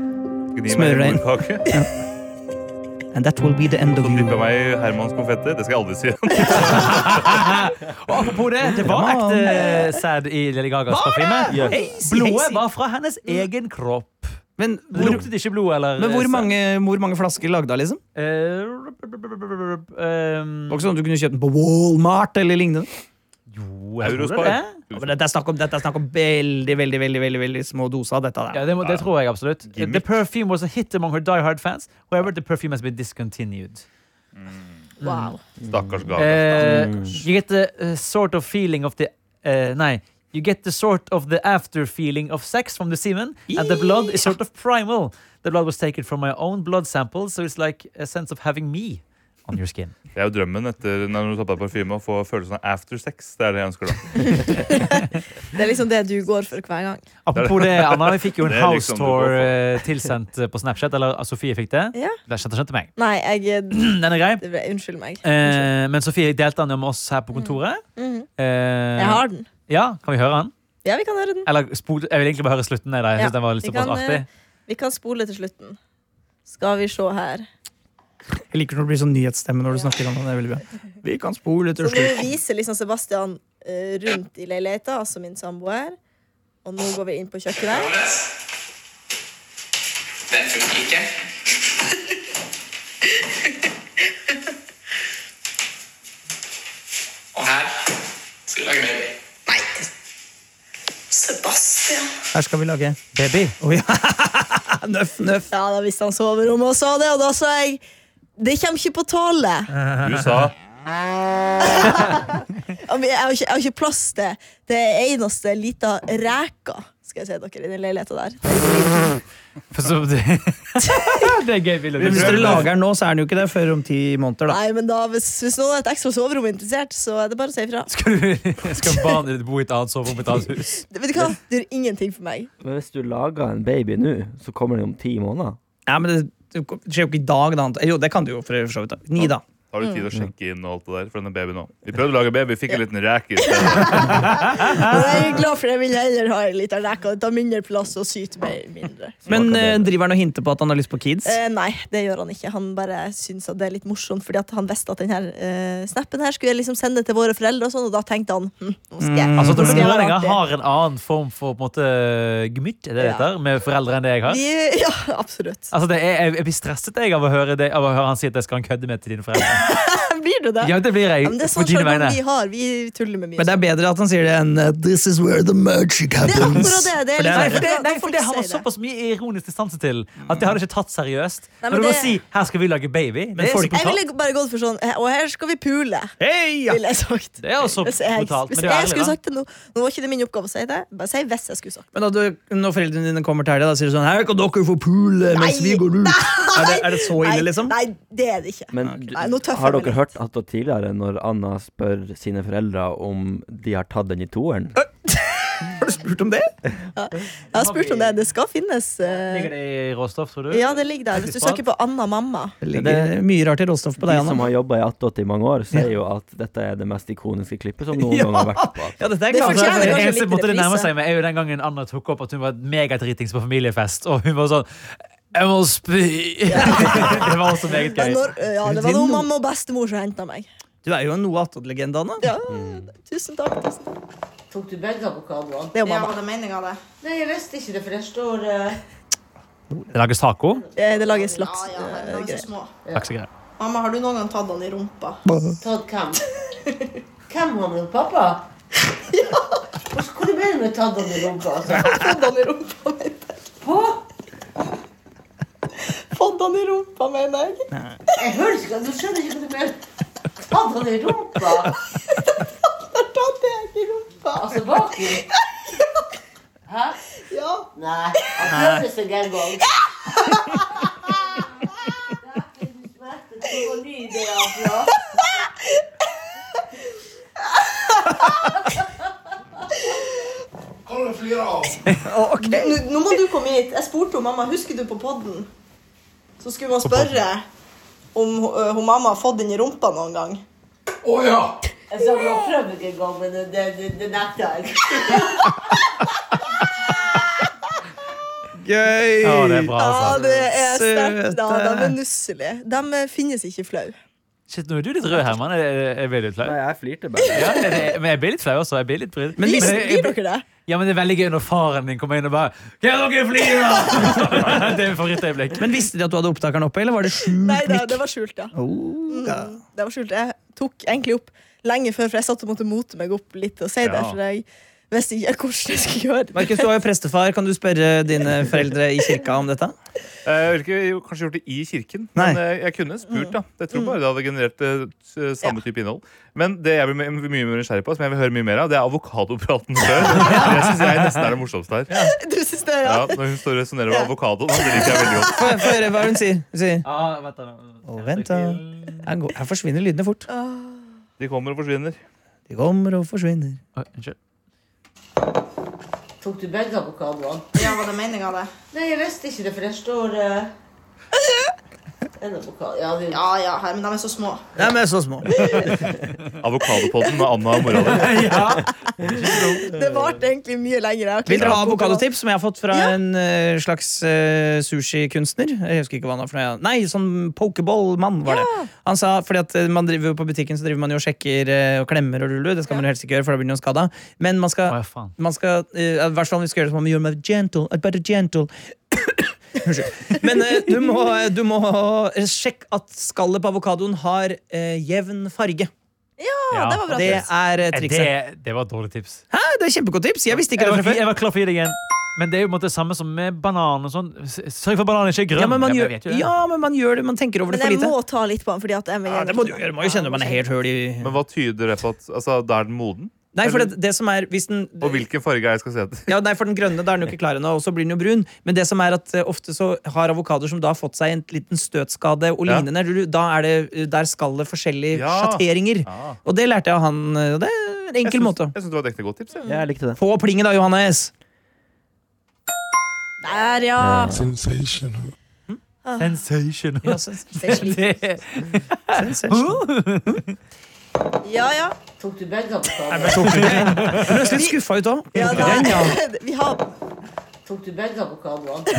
Speaker 6: Gni
Speaker 4: Smører
Speaker 6: meg
Speaker 4: deg
Speaker 6: en
Speaker 4: inn.
Speaker 6: morkake.
Speaker 4: And that will be the end of
Speaker 6: Så
Speaker 4: you.
Speaker 6: drypper jeg meg i Hermans konfetti. Det skal jeg aldri si igjen.
Speaker 3: Og apropos det, det var
Speaker 4: Herman.
Speaker 3: ekte sæd i Lady Gagas parfyme.
Speaker 4: Hei, si- hei,
Speaker 3: Blodet
Speaker 4: si.
Speaker 3: var fra hennes egen kropp.
Speaker 4: Men
Speaker 3: Det
Speaker 4: hvor,
Speaker 3: luktet ikke blod eller
Speaker 4: men hvor,
Speaker 3: sæd.
Speaker 4: mange, hvor mange flasker lagde hun, liksom? Det
Speaker 3: Eh, ehm,
Speaker 4: var ikke sånn at du kunne kjøpt den på Walmart eller lignende?
Speaker 3: Jo, jeg tror
Speaker 6: Eurospar.
Speaker 3: eh, det.
Speaker 4: Ja, men Dette er snakk om, dette er snakk om veldig, veldig, veldig, veldig, veldig små doser av dette der.
Speaker 3: Ja, det, må- det tror jeg absolutt.
Speaker 6: Gimmick.
Speaker 3: The perfume was a hit among her die hard fans. However, the perfume has been discontinued.
Speaker 2: Wow.
Speaker 6: Stakkars Gaga.
Speaker 3: Eh,
Speaker 6: Mm.
Speaker 3: you get the eh, sort of feeling of the eh, Nei. You get the sort of the after feeling of sex from the semen, and the blood is sort of primal. The blood was taken from my own blood sample, so it's like a sense of having me on your skin.
Speaker 6: Det er jo drømmen etter når du tar på deg parfyme, å få følelsen av after sex. Det er det jeg ønsker, da.
Speaker 2: Det er liksom det du går for hver gang.
Speaker 3: Apropos det, Anna, vi fikk jo en
Speaker 6: Det er liksom
Speaker 3: house
Speaker 6: det du går
Speaker 3: tour
Speaker 6: for.
Speaker 3: eh, tilsendt eh, på Snapchat. Eller ah, Sofie fikk det.
Speaker 2: Ja.
Speaker 3: Det skjønte, skjønte meg.
Speaker 2: Nei, jeg det
Speaker 3: Den er grei.
Speaker 2: ble, Unnskyld meg. Unnskyld.
Speaker 3: Eh, men Sofie delte den jo med oss her på kontoret.
Speaker 2: Mhm.
Speaker 3: Eh,
Speaker 2: Jeg har den.
Speaker 3: Ja, Kan vi høre den?
Speaker 2: Ja, vi kan høre den.
Speaker 3: Eller spol, jeg vil egentlig bare høre slutten. Jeg, da. jeg
Speaker 2: Ja,
Speaker 3: synes den var litt
Speaker 2: vi
Speaker 3: såpass
Speaker 2: kan,
Speaker 3: artig.
Speaker 2: eh, Vi kan spole til slutten. Skal vi se her.
Speaker 4: Jeg liker når det blir sånn nyhetsstemme når du snakker om det. det er veldig bra. Vi kan spole
Speaker 2: Så
Speaker 4: til
Speaker 2: nå viser liksom Sebastian eh, rundt i leiligheta, altså min samboer. Og nå går vi inn på kjøkkenet.
Speaker 7: Den funker ikke. Og her skal vi lage baby.
Speaker 2: Nei! Sebastian.
Speaker 4: Her skal vi lage
Speaker 3: Baby.
Speaker 4: Å, ja. Nøff, nøff.
Speaker 2: Ja, da visste han soverommet og sa det, og da sa jeg det kommer ikke på tale.
Speaker 6: Du sa
Speaker 2: Og vi- Jeg har ikke, jeg har ikke plass til det eneste lita reka, skal jeg si dere, i den leiligheta der.
Speaker 3: For så, det, det er gøy bilde.
Speaker 4: Hvis dere lager den nå, så er den jo ikke det før om ti måneder. da.
Speaker 2: Nei, men da, hvis, hvis noen er et ekstra soverom interessert, så er det bare å si ifra.
Speaker 3: Skal, du, skal barnet ditt bo i et annet soverom i et annet hus?
Speaker 2: Det- Vet du hva? Det gjør ingenting for meg.
Speaker 5: Men hvis du lager en baby nå, så kommer den om ti måneder.
Speaker 4: Ja, men det, det skjer jo ikke i dag. Da. Jo, det kan du jo for så vidt. da. Ni, da.
Speaker 6: Da har du tid å sjekke inn og alt det der for denne babyen òg. Vi prøvde å lage baby, fikk en liten reke i stedet.
Speaker 2: Men jeg er glad for jeg vil heller ha en liten reke. Det tar mindre plass og syter mer- mindre.
Speaker 4: Men eh, driver han og hinter på at han har lyst på kids?
Speaker 2: Eh, nei, det gjør han ikke. Han bare syns at det er litt morsomt, fordi at han visste at denne eh, snappen her skulle jeg liksom sende til våre foreldre, og sånn, og da tenkte han hm, nå skal jeg,
Speaker 3: Altså,
Speaker 2: nå skal jeg være
Speaker 3: Nordlendinger
Speaker 2: artig».
Speaker 3: har en annen form for på en måte, gemytt er det det
Speaker 2: Ja.
Speaker 3: heter, med foreldre enn det jeg har.
Speaker 2: Vi, ja, absolutt.
Speaker 3: Altså, det er, jeg, jeg blir stresset jeg, av, å høre det, av å høre han si at jeg skal ha en kødde med til dine foreldre.
Speaker 2: Blir du det?
Speaker 3: Ja, det blir jeg.
Speaker 2: Ja, men det er
Speaker 3: på
Speaker 2: sånn
Speaker 3: dine
Speaker 2: sjargong
Speaker 3: vegne.
Speaker 2: vi har. Vi tuller med mye.
Speaker 4: Men det er bedre at han sier det enn eh, This is where the magic
Speaker 2: Det er
Speaker 4: happens.
Speaker 2: akkurat det. det, er
Speaker 4: For det
Speaker 3: Nei,
Speaker 2: liksom-
Speaker 4: er-
Speaker 3: for det,
Speaker 2: da- da
Speaker 3: nei,
Speaker 2: folk
Speaker 3: for det har man
Speaker 2: sier det. Mm.
Speaker 3: såpass mye ironisk distanse til at det hadde ikke tatt seriøst.
Speaker 2: Nei, men
Speaker 3: Når du bare
Speaker 2: det-
Speaker 3: sier 'her skal vi lage baby', det er
Speaker 4: folk-
Speaker 3: så
Speaker 2: Jeg
Speaker 3: brutalt.
Speaker 2: ville bare gått for sånn eh, Og her skal vi pule,
Speaker 4: Hei, ja.
Speaker 2: ville jeg sagt.
Speaker 3: Det er også
Speaker 2: Hvis jeg,
Speaker 3: brutalt, men
Speaker 2: hvis
Speaker 3: det er
Speaker 2: jeg
Speaker 3: ærlig,
Speaker 2: skulle
Speaker 3: da.
Speaker 2: sagt det nå, nå var ikke det min oppgave å si det. Bare si hvis jeg skulle sagt det.
Speaker 4: Men da du, når foreldrene dine kommer til deg, da sier du sånn Her kan dere få pule mens vi går ut. Er det, er det så ille, liksom?
Speaker 2: Nei, det er det ikke.
Speaker 5: Men
Speaker 3: Ah,
Speaker 2: Nei, nå tøffer
Speaker 5: har
Speaker 2: jeg meg
Speaker 5: dere hørt at det tidligere, når Anna spør sine foreldre om de har tatt den i toeren
Speaker 4: Har du spurt om det?
Speaker 2: Jeg har spurt om det. Det skal finnes. eh,
Speaker 3: Ligger det i råstoff, tror du?
Speaker 2: Ja, det ligger der. Hvis du søker på Anna mamma
Speaker 4: Det ligger mye rart i råstoff på
Speaker 5: De
Speaker 4: deg,
Speaker 5: som
Speaker 4: Anna.
Speaker 5: har jobba i Attåt i mange år, sier jo at dette er det mest ikoniske klippet som noen gang har vært på Attåt.
Speaker 4: Ja, dette er
Speaker 2: Det
Speaker 4: klart.
Speaker 2: fortjener
Speaker 3: det
Speaker 2: kanskje litt
Speaker 3: eneste måte det nærmer
Speaker 2: reprise.
Speaker 3: seg med, er jo den gangen Anna tok opp at hun var megadritings på familiefest, og hun var sånn 'Jeg må spy'. det var også meget
Speaker 2: Men
Speaker 3: gøy.
Speaker 2: når, eh, ja, Det var noe mamma og bestemor som henta meg.
Speaker 4: Du er jo en noe attåt-legende, Anna.
Speaker 2: Ja,
Speaker 5: Mm.
Speaker 2: tusen takk. Tusen takk.
Speaker 8: Tok du begge avokadoene?
Speaker 2: Det er jo
Speaker 8: Ja,
Speaker 2: mamma.
Speaker 8: var det meningen av det? Nei, jeg leste ikke det, for det står eh,
Speaker 3: Det lages taco.
Speaker 2: Eh, Det lages laks.
Speaker 8: Ja, ja, de
Speaker 2: eh,
Speaker 8: er så
Speaker 2: greier.
Speaker 8: små.
Speaker 3: Laksegreier.
Speaker 2: Mamma, har du noen gang tatt den i rumpa?
Speaker 8: Tatt hvem? hvem har med pappa? Ja. Hva du mener du med tatt han i rumpa? Altså?
Speaker 2: Fått den i rumpa, mener jeg. Fått den i rumpa, mener jeg.
Speaker 8: Jeg hører ikke, hva- du skjønner ikke hva du mener. Tatt han i rumpa?
Speaker 2: Tatt deg i rumpa.
Speaker 8: Altså baki? Hæ?
Speaker 2: Ja.
Speaker 8: Nei, han prøvde seg en gang.
Speaker 2: Nå, nå må du komme hit. Jeg spurte hun mamma husker du på podden. Så skulle man spørre om ø, hun mamma har fått den i rumpa noen gang.
Speaker 8: Jeg sa du har prøvd ikke en gang, men det, det, det, det nekta jeg.
Speaker 4: Gøy!
Speaker 3: Ja, det er bra,
Speaker 2: Ja,
Speaker 3: altså.
Speaker 2: det er
Speaker 4: Søte.
Speaker 2: sterkt. da. De er nusselige. De ø, finnes ikke flau.
Speaker 3: Shit, nå er du litt rød, Herman. Jeg- Jeg jeg blir litt flau.
Speaker 5: Nei, jeg flirte bare.
Speaker 3: Ja, det- det- men jeg blir litt flau også. Jeg blir litt brydd.
Speaker 4: Men
Speaker 3: Men
Speaker 4: hvis-
Speaker 3: jeg- jeg-
Speaker 2: Blir dere det?
Speaker 3: Ja, men det er veldig gøy når faren din kommer inn og bare Kan dere fly, da?! det er favorittøyeblikk.
Speaker 4: Men visste de at du hadde opptakeren oppe, eller var det sju
Speaker 2: Nei da,
Speaker 4: nikk?
Speaker 2: det var skjult, ja.
Speaker 4: Oh, ja.
Speaker 2: Mm, Det var skjult. Jeg tok egentlig opp lenge før, for jeg satt og måtte mote meg opp litt og si det.
Speaker 6: Ja.
Speaker 2: For jeg visste ikke hvordan jeg skulle gjøre det.
Speaker 4: Markus, du er jo prestefar. Kan du spørre dine foreldre i kirka om dette?
Speaker 6: Eh, Jeg ville ikke jo kanskje gjort det i kirken,
Speaker 4: Nei.
Speaker 6: men eh, jeg kunne spurt. da Jeg tror bare det hadde generert eh, s- samme type innhold. Men det jeg blir me- mye mer nysgjerrig på, som jeg vil høre mye mer av, det er avokadopraten før. Det syns jeg nesten er det morsomste her.
Speaker 2: Du synes det, ja.
Speaker 6: Ja, når hun står og resonerer om avokado. da, Det liker jeg veldig godt.
Speaker 4: Få få høre hva hun sier. Hun sier
Speaker 3: Ja, vent da.
Speaker 4: «Å, vent, da. Her, går, her forsvinner lydene fort.
Speaker 6: De kommer og forsvinner.
Speaker 4: De kommer og forsvinner.
Speaker 3: Oi, Unnskyld.
Speaker 8: Tok du begge avokadoene?
Speaker 2: Ja, var det meninga, det?
Speaker 8: Nei, jeg leste ikke det, for der står eh, En avokado Ja, det er jo
Speaker 2: Ja ja, her, men de er så små.
Speaker 4: Nei, men så små.
Speaker 6: Avokadopodden med Anna og mora di.
Speaker 2: Det varte egentlig mye lenger. Jeg har ikke
Speaker 4: Vil dere ha
Speaker 2: klart å-
Speaker 4: avokadotips som jeg har fått fra
Speaker 2: Ja.
Speaker 4: en eh, slags eh, sushikunstner? Jeg husker ikke hva han var for noe. Nei, sånn pokeball-mann var det. Han sa, fordi at eh, man driver jo på butikken så driver man jo og sjekker eh, og klemmer og ruller. Det skal man jo helst ikke gjøre, for da blir det noen skada. Men man skal,
Speaker 3: Å, ja, faen.
Speaker 4: man skal eh, i hvert fall om vi skal gjøre det, så må man gjøre det med gentle. uh, Bare gentle. Unnskyld. Men eh, du, må, du må sjekke at skallet på avokadoen har eh, jevn farge.
Speaker 3: Ja,
Speaker 2: det var bra.
Speaker 4: Det er eh,
Speaker 3: Eh,
Speaker 4: trikset.
Speaker 3: Det, det var et dårlig tips.
Speaker 4: Hæ, det er kjempegodt tips! Jeg visste ikke
Speaker 3: Jeg
Speaker 4: det
Speaker 3: var,
Speaker 4: fra før.
Speaker 3: jeg var klar for å gi deg en. Men det er jo på en måte det samme som med banan og sånn. S- Sørg for at bananen ikke er grønn.
Speaker 4: Ja men, man gjør,
Speaker 3: vet jo det.
Speaker 4: ja, men man gjør det. Man tenker over det
Speaker 2: Men
Speaker 4: for
Speaker 2: jeg
Speaker 4: lite.
Speaker 2: må ta litt på den. Fordi at jeg
Speaker 4: Ja, det må du gjøre. Man må jo kjenne om man er helt høl i
Speaker 6: Men hva tyder det på at altså, da er den moden?
Speaker 4: Nei, for det, det som er hvis den,
Speaker 6: Og hvilken farge er jeg skal se etter?
Speaker 4: ja, nei, for den grønne da er den jo ikke klar ennå, og så blir den jo brun. Men det som er at eh, ofte så har avokadoer som da har fått seg en liten støtskade og
Speaker 6: Ja.
Speaker 4: lignende, du- da er det eh, der skallet forskjellige
Speaker 6: Ja.
Speaker 4: sjatteringer.
Speaker 6: Ja.
Speaker 4: Og det lærte jeg av han. eh, og Det er en
Speaker 6: Jeg
Speaker 4: enkel
Speaker 6: syns-
Speaker 4: måte.
Speaker 6: Jeg syns det var et ekte godt tips. Jeg.
Speaker 5: Jeg likte det.
Speaker 4: Få plinget da, Johannes!
Speaker 2: Der, ja.
Speaker 9: Sensational.
Speaker 3: Sensation.
Speaker 4: Ja, sens-
Speaker 2: Det er slik.
Speaker 3: Det-
Speaker 4: sensation.
Speaker 2: Ja, ja.
Speaker 8: Tok du begge oppgavene?
Speaker 4: Jeg ble litt skuffa ut òg.
Speaker 2: ja da,
Speaker 4: Den, ja.
Speaker 2: vi har
Speaker 8: Tok du begge avokadene?
Speaker 6: Og så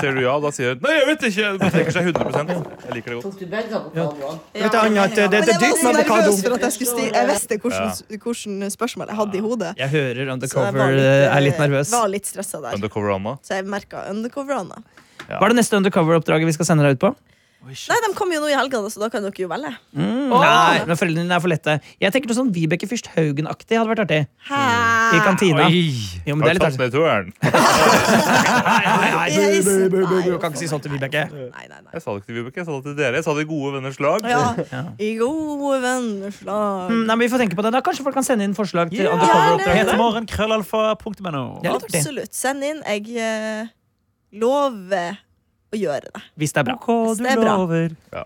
Speaker 6: sier du ja, og da sier hun nei, jeg vet ikke. Hun trekker seg 100 Jeg liker det godt.
Speaker 8: Tok du begge avokadene?
Speaker 2: ja.
Speaker 4: Vet du, Anja, at eh, det- det
Speaker 2: Men
Speaker 4: er
Speaker 2: jeg var
Speaker 4: dyrt
Speaker 2: så
Speaker 4: med avokado.
Speaker 2: nervøs for at jeg skulle sti- Jeg visste hvordan, hvordan spørsmål jeg hadde i hodet.
Speaker 4: Jeg hører
Speaker 2: Så jeg
Speaker 4: Undercover
Speaker 2: var
Speaker 4: eh, er litt nervøs.
Speaker 2: Var litt stressa der.
Speaker 6: Undercover Anna.
Speaker 2: Så jeg merka undercover Anna.
Speaker 4: Hva er det neste Undercover-oppdraget vi skal sende deg ut på?
Speaker 2: Nei, de kommer jo nå i helga, så da kan dere jo velge.
Speaker 4: Nei, men foreldrene dine er for lette. Jeg tenker noe sånn Vibeke Fyrst Haugen-aktig hadde vært artig. I
Speaker 2: Hæ?
Speaker 4: kantina.
Speaker 3: Oi.
Speaker 4: Jo, men det er
Speaker 6: Har du
Speaker 4: litt
Speaker 6: tatt
Speaker 4: artig.
Speaker 6: med toeren?
Speaker 2: I heisen?
Speaker 4: Du kan ikke si sånn til Vibeke.
Speaker 2: Nei, nei, nei.
Speaker 6: Jeg sa det ikke til Vibeke, jeg sa det til dere. Jeg sa det i gode venners lag.
Speaker 2: Ja. I gode venners lag.
Speaker 4: Mm, Nei, men vi får tenke på det da. Kanskje folk kan sende inn forslag til
Speaker 3: Ja,
Speaker 4: undercover-oppdrag.
Speaker 3: Petermorgen, krøllalfa, punktum no.
Speaker 4: Det er litt artig.
Speaker 2: Absolutt. Send inn. Jeg eh, lover å gjøre det.
Speaker 4: Hvis det er bra.
Speaker 2: Hvis det er bra.
Speaker 6: Ja.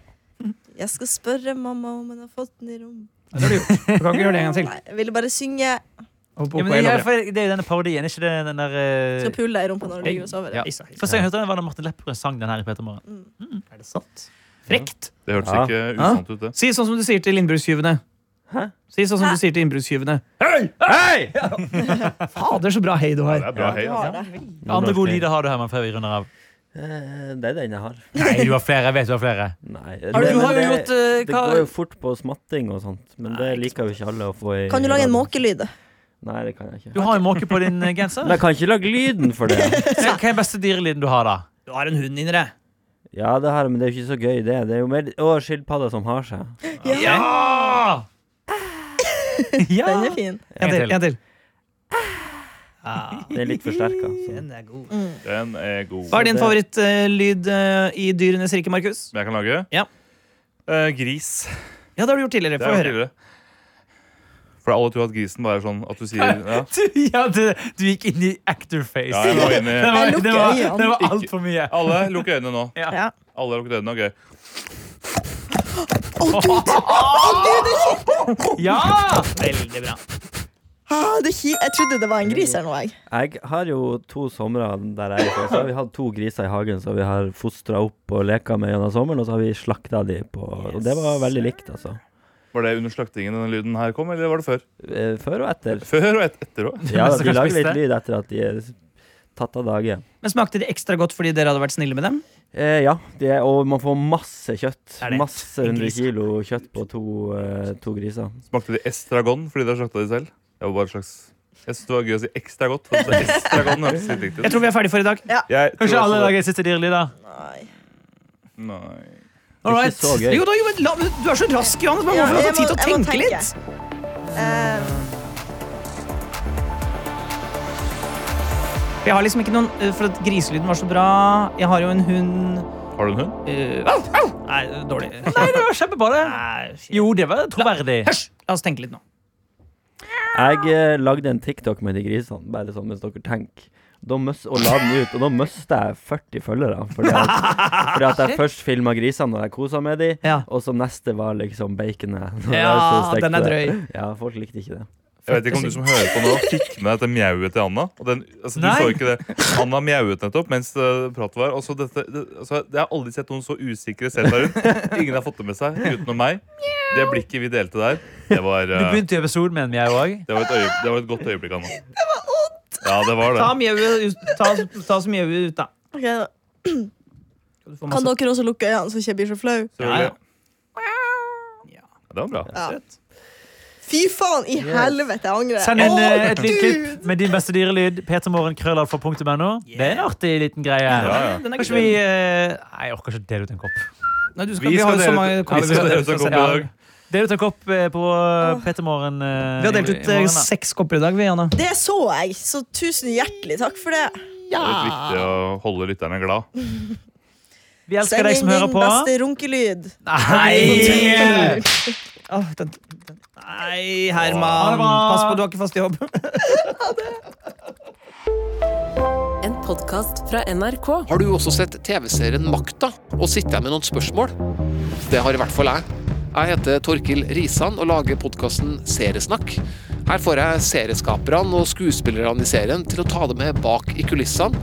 Speaker 2: Jeg skal spørre mamma om hun har fått den i rom.
Speaker 4: Du kan ikke gjøre det en gang til.
Speaker 2: Nei, jeg ville bare synge.
Speaker 4: Hopp,
Speaker 3: Ja,
Speaker 4: hopp,
Speaker 3: men det, er,
Speaker 4: jeg lover det.
Speaker 3: for det er jo denne parodien, er ikke det den der eh,
Speaker 2: Skal pule deg i rumpa når du ligger og sover.
Speaker 3: ja. Første gang jeg hørte den, var da Martin Lepperød sang den her i Petermorgen.
Speaker 4: Er det sant? Frekt.
Speaker 6: Det hørtes
Speaker 5: Ja.
Speaker 6: ikke usant ut, det.
Speaker 4: Si sånn som du sier til innbruddstyvene. Si sånn som du sier til innbruddstyvene.
Speaker 5: Hei!
Speaker 4: Fader, så bra hei du
Speaker 6: Det
Speaker 4: har.
Speaker 6: er bra, hei. altså.
Speaker 3: Andre gode lyder har du, Herman, før vi runder av?
Speaker 5: Eh, Det er den jeg har.
Speaker 3: Nei, du har flere. Jeg vet du har flere.
Speaker 5: Nei,
Speaker 4: Har du,
Speaker 5: det-
Speaker 4: du har jo
Speaker 5: det-
Speaker 4: gjort eh,
Speaker 5: Det
Speaker 4: hva?
Speaker 5: går jo fort på smatting og sånt, men det liker jo ikke alle å få i
Speaker 2: Kan du lage en
Speaker 5: radioen.
Speaker 2: måkelyd?
Speaker 5: Nei, det kan jeg ikke.
Speaker 3: Du har en måke på din eh, genser.
Speaker 5: Men jeg kan ikke lage lyden for det.
Speaker 3: Hva er den beste dyrelyden du har, da?
Speaker 4: Du har en hund inni deg.
Speaker 5: Ja, det har jeg, men det er jo ikke så gøy, det. Det er jo mer Å, skilpadder som har seg.
Speaker 3: Ja! ja.
Speaker 2: Den er fin.
Speaker 4: En til. En til.
Speaker 5: Den er litt forsterka.
Speaker 4: Den er god.
Speaker 6: Den er god.
Speaker 4: Hva er din favorittlyd eh, i dyrenes rike, Markus?
Speaker 6: Som jeg kan lage?
Speaker 4: Ja.
Speaker 6: Eh, gris.
Speaker 4: Ja, det har du gjort tidligere.
Speaker 6: Det
Speaker 4: Få
Speaker 6: er jo
Speaker 4: høre.
Speaker 6: tidligere. For alle tror at grisen bare er sånn at du sier ja.
Speaker 3: ja, du, du gikk inn i actor face.
Speaker 6: Ja, jeg må inn i-
Speaker 3: Det var, det
Speaker 2: Jeg lukker
Speaker 3: var,
Speaker 2: øynene.
Speaker 3: det var altfor mye.
Speaker 6: Alle lukker øynene nå.
Speaker 2: Ja.
Speaker 6: Alle lukker øynene, ok.
Speaker 3: Ja!
Speaker 4: Veldig bra.
Speaker 2: Ah, det er ki- jeg trodde det var en gris her nå, jeg.
Speaker 5: Jeg har jo to somre der jeg er fra. Så har vi hatt to griser i hagen som vi har fostra opp og leka med gjennom sommeren, og så har vi slakta de på Og det var veldig likt, altså.
Speaker 6: Var det under slaktingen denne lyden her kom, eller var det før?
Speaker 5: Eh, Før og etter.
Speaker 6: Før og et etter òg.
Speaker 5: Ja,
Speaker 3: mens
Speaker 5: de
Speaker 3: dere
Speaker 5: lager litt
Speaker 3: spiste?
Speaker 5: lyd etter at de er tatt av dage.
Speaker 4: Men Smakte det ekstra godt fordi dere hadde vært snille med dem?
Speaker 5: Eh, ja, det er, og man får masse kjøtt.
Speaker 4: Er det
Speaker 5: Masse
Speaker 4: en
Speaker 5: 100
Speaker 4: gris?
Speaker 5: kilo kjøtt på to, eh, to griser.
Speaker 6: Smakte de estragon fordi de har slakta de selv? Det var bare et slags Jeg synes det var gøy å si ekstra godt. For det estragon hørtes litt riktig
Speaker 4: Jeg
Speaker 6: ut.
Speaker 4: tror vi er ferdige for i dag.
Speaker 6: Jeg tror
Speaker 3: Kanskje
Speaker 6: også
Speaker 3: alle
Speaker 6: det-
Speaker 3: lager siste dyrelyd, da?
Speaker 2: Nei.
Speaker 6: Nei.
Speaker 4: All
Speaker 5: Ikke
Speaker 4: right.
Speaker 5: så gøy.
Speaker 4: Jo, da, jo, men la, men du er så rask, Johannes. Man må
Speaker 2: Ja,
Speaker 4: få
Speaker 2: jeg
Speaker 4: tid til å
Speaker 2: må- jeg må
Speaker 4: tenke
Speaker 2: tenke.
Speaker 4: litt.
Speaker 2: Eh,
Speaker 4: For Jeg har liksom ikke noen eh, For at griselyden var så bra. Jeg har jo en hund
Speaker 6: Har du en hund?
Speaker 4: eh, au, au! Nei, dårlig.
Speaker 3: Nei, det var kjempebra, det.
Speaker 4: Nei, shit.
Speaker 3: Jo, det var troverdig.
Speaker 4: Hysj! La oss tenke litt nå.
Speaker 5: Jeg eh, lagde en TikTok med de grisene, bare sånn mens dere tenker. Da møs, og la den ut, og da mista jeg 40 følgere. Fordi at, fordi at jeg først filma grisene når jeg kosa med de,
Speaker 4: Ja.
Speaker 5: og så neste var liksom baconet. når jeg
Speaker 4: Ja,
Speaker 5: stekte
Speaker 4: den er
Speaker 5: det.
Speaker 4: drøy.
Speaker 5: Ja, folk likte ikke det.
Speaker 6: Jeg vet ikke om du som hører på nå, fikk med deg dette mjauet til Anna. Og den, altså, du
Speaker 3: Nei.
Speaker 6: så ikke det. Anna mjauet nettopp mens eh, pratet var. Og så dette, det, altså, jeg har aldri sett noen så usikre sett der rundt. Ingen har fått det med seg utenom meg. Det blikket vi delte der, det var,
Speaker 3: Du
Speaker 6: eh,
Speaker 3: begynte jo episoden med en mjau òg.
Speaker 6: det var, et, øye, det var et godt øyeblikk, Anna. Det var Ja, det var det.
Speaker 4: Ta mjauet ut- ta, ta så mjauet ut, da.
Speaker 2: ok, da.
Speaker 4: Skal du få
Speaker 2: Kan
Speaker 3: Altså-
Speaker 4: masse-
Speaker 2: dere også lukke øynene, så ikke jeg blir så flau?
Speaker 6: Selvfølgelig.
Speaker 4: Ja, ja.
Speaker 6: Ja, Det var bra.
Speaker 2: Ja. Fy faen i helvete, jeg angrer.
Speaker 3: Send inn
Speaker 2: Å,
Speaker 3: eh, et lite
Speaker 2: Gud!
Speaker 3: klipp med din beste dyrelyd. Petermorgen.krøllalfa.no. Det er en artig liten greie.
Speaker 6: Ja, ja.
Speaker 4: Den er
Speaker 3: Kanskje
Speaker 4: ikke
Speaker 3: vi
Speaker 4: dum.
Speaker 3: eh, Nei, jeg orker ikke å dele ut en kopp.
Speaker 4: Nei, du skal,
Speaker 6: Vi
Speaker 4: vi, har jo
Speaker 6: skal
Speaker 4: så
Speaker 6: dele-
Speaker 4: mange
Speaker 6: vi skal
Speaker 4: kopper.
Speaker 6: dele ut en kopp i dag.
Speaker 3: Dele ut en kopp eh, på Petermorgen. eh,
Speaker 4: Vi har delt
Speaker 3: i-
Speaker 4: ut
Speaker 3: i
Speaker 4: eh,
Speaker 3: morgen, da.
Speaker 4: seks kopper i dag, vi, Anna.
Speaker 2: Det så jeg, så tusen hjertelig takk for det.
Speaker 6: Det er litt viktig å holde lytterne glad.
Speaker 3: Vi elsker
Speaker 2: Send
Speaker 3: deg som
Speaker 2: inn
Speaker 3: hører
Speaker 2: din
Speaker 3: på.
Speaker 2: beste runkelyd.
Speaker 3: Nei!
Speaker 4: Åh, den, den. Nei,
Speaker 3: Ha det
Speaker 4: Herman.
Speaker 3: bra.
Speaker 4: Pass på, du har ikke fast jobb.
Speaker 9: En podkast fra NRK.
Speaker 10: Har du også sett TV-serien Makta og sitter jeg med noen spørsmål? Det har i hvert fall jeg. Jeg heter Torkil Risan og lager podkasten Seriesnakk. Her får jeg serieskaperne og skuespillerne i serien til å ta det med bak i kulissene.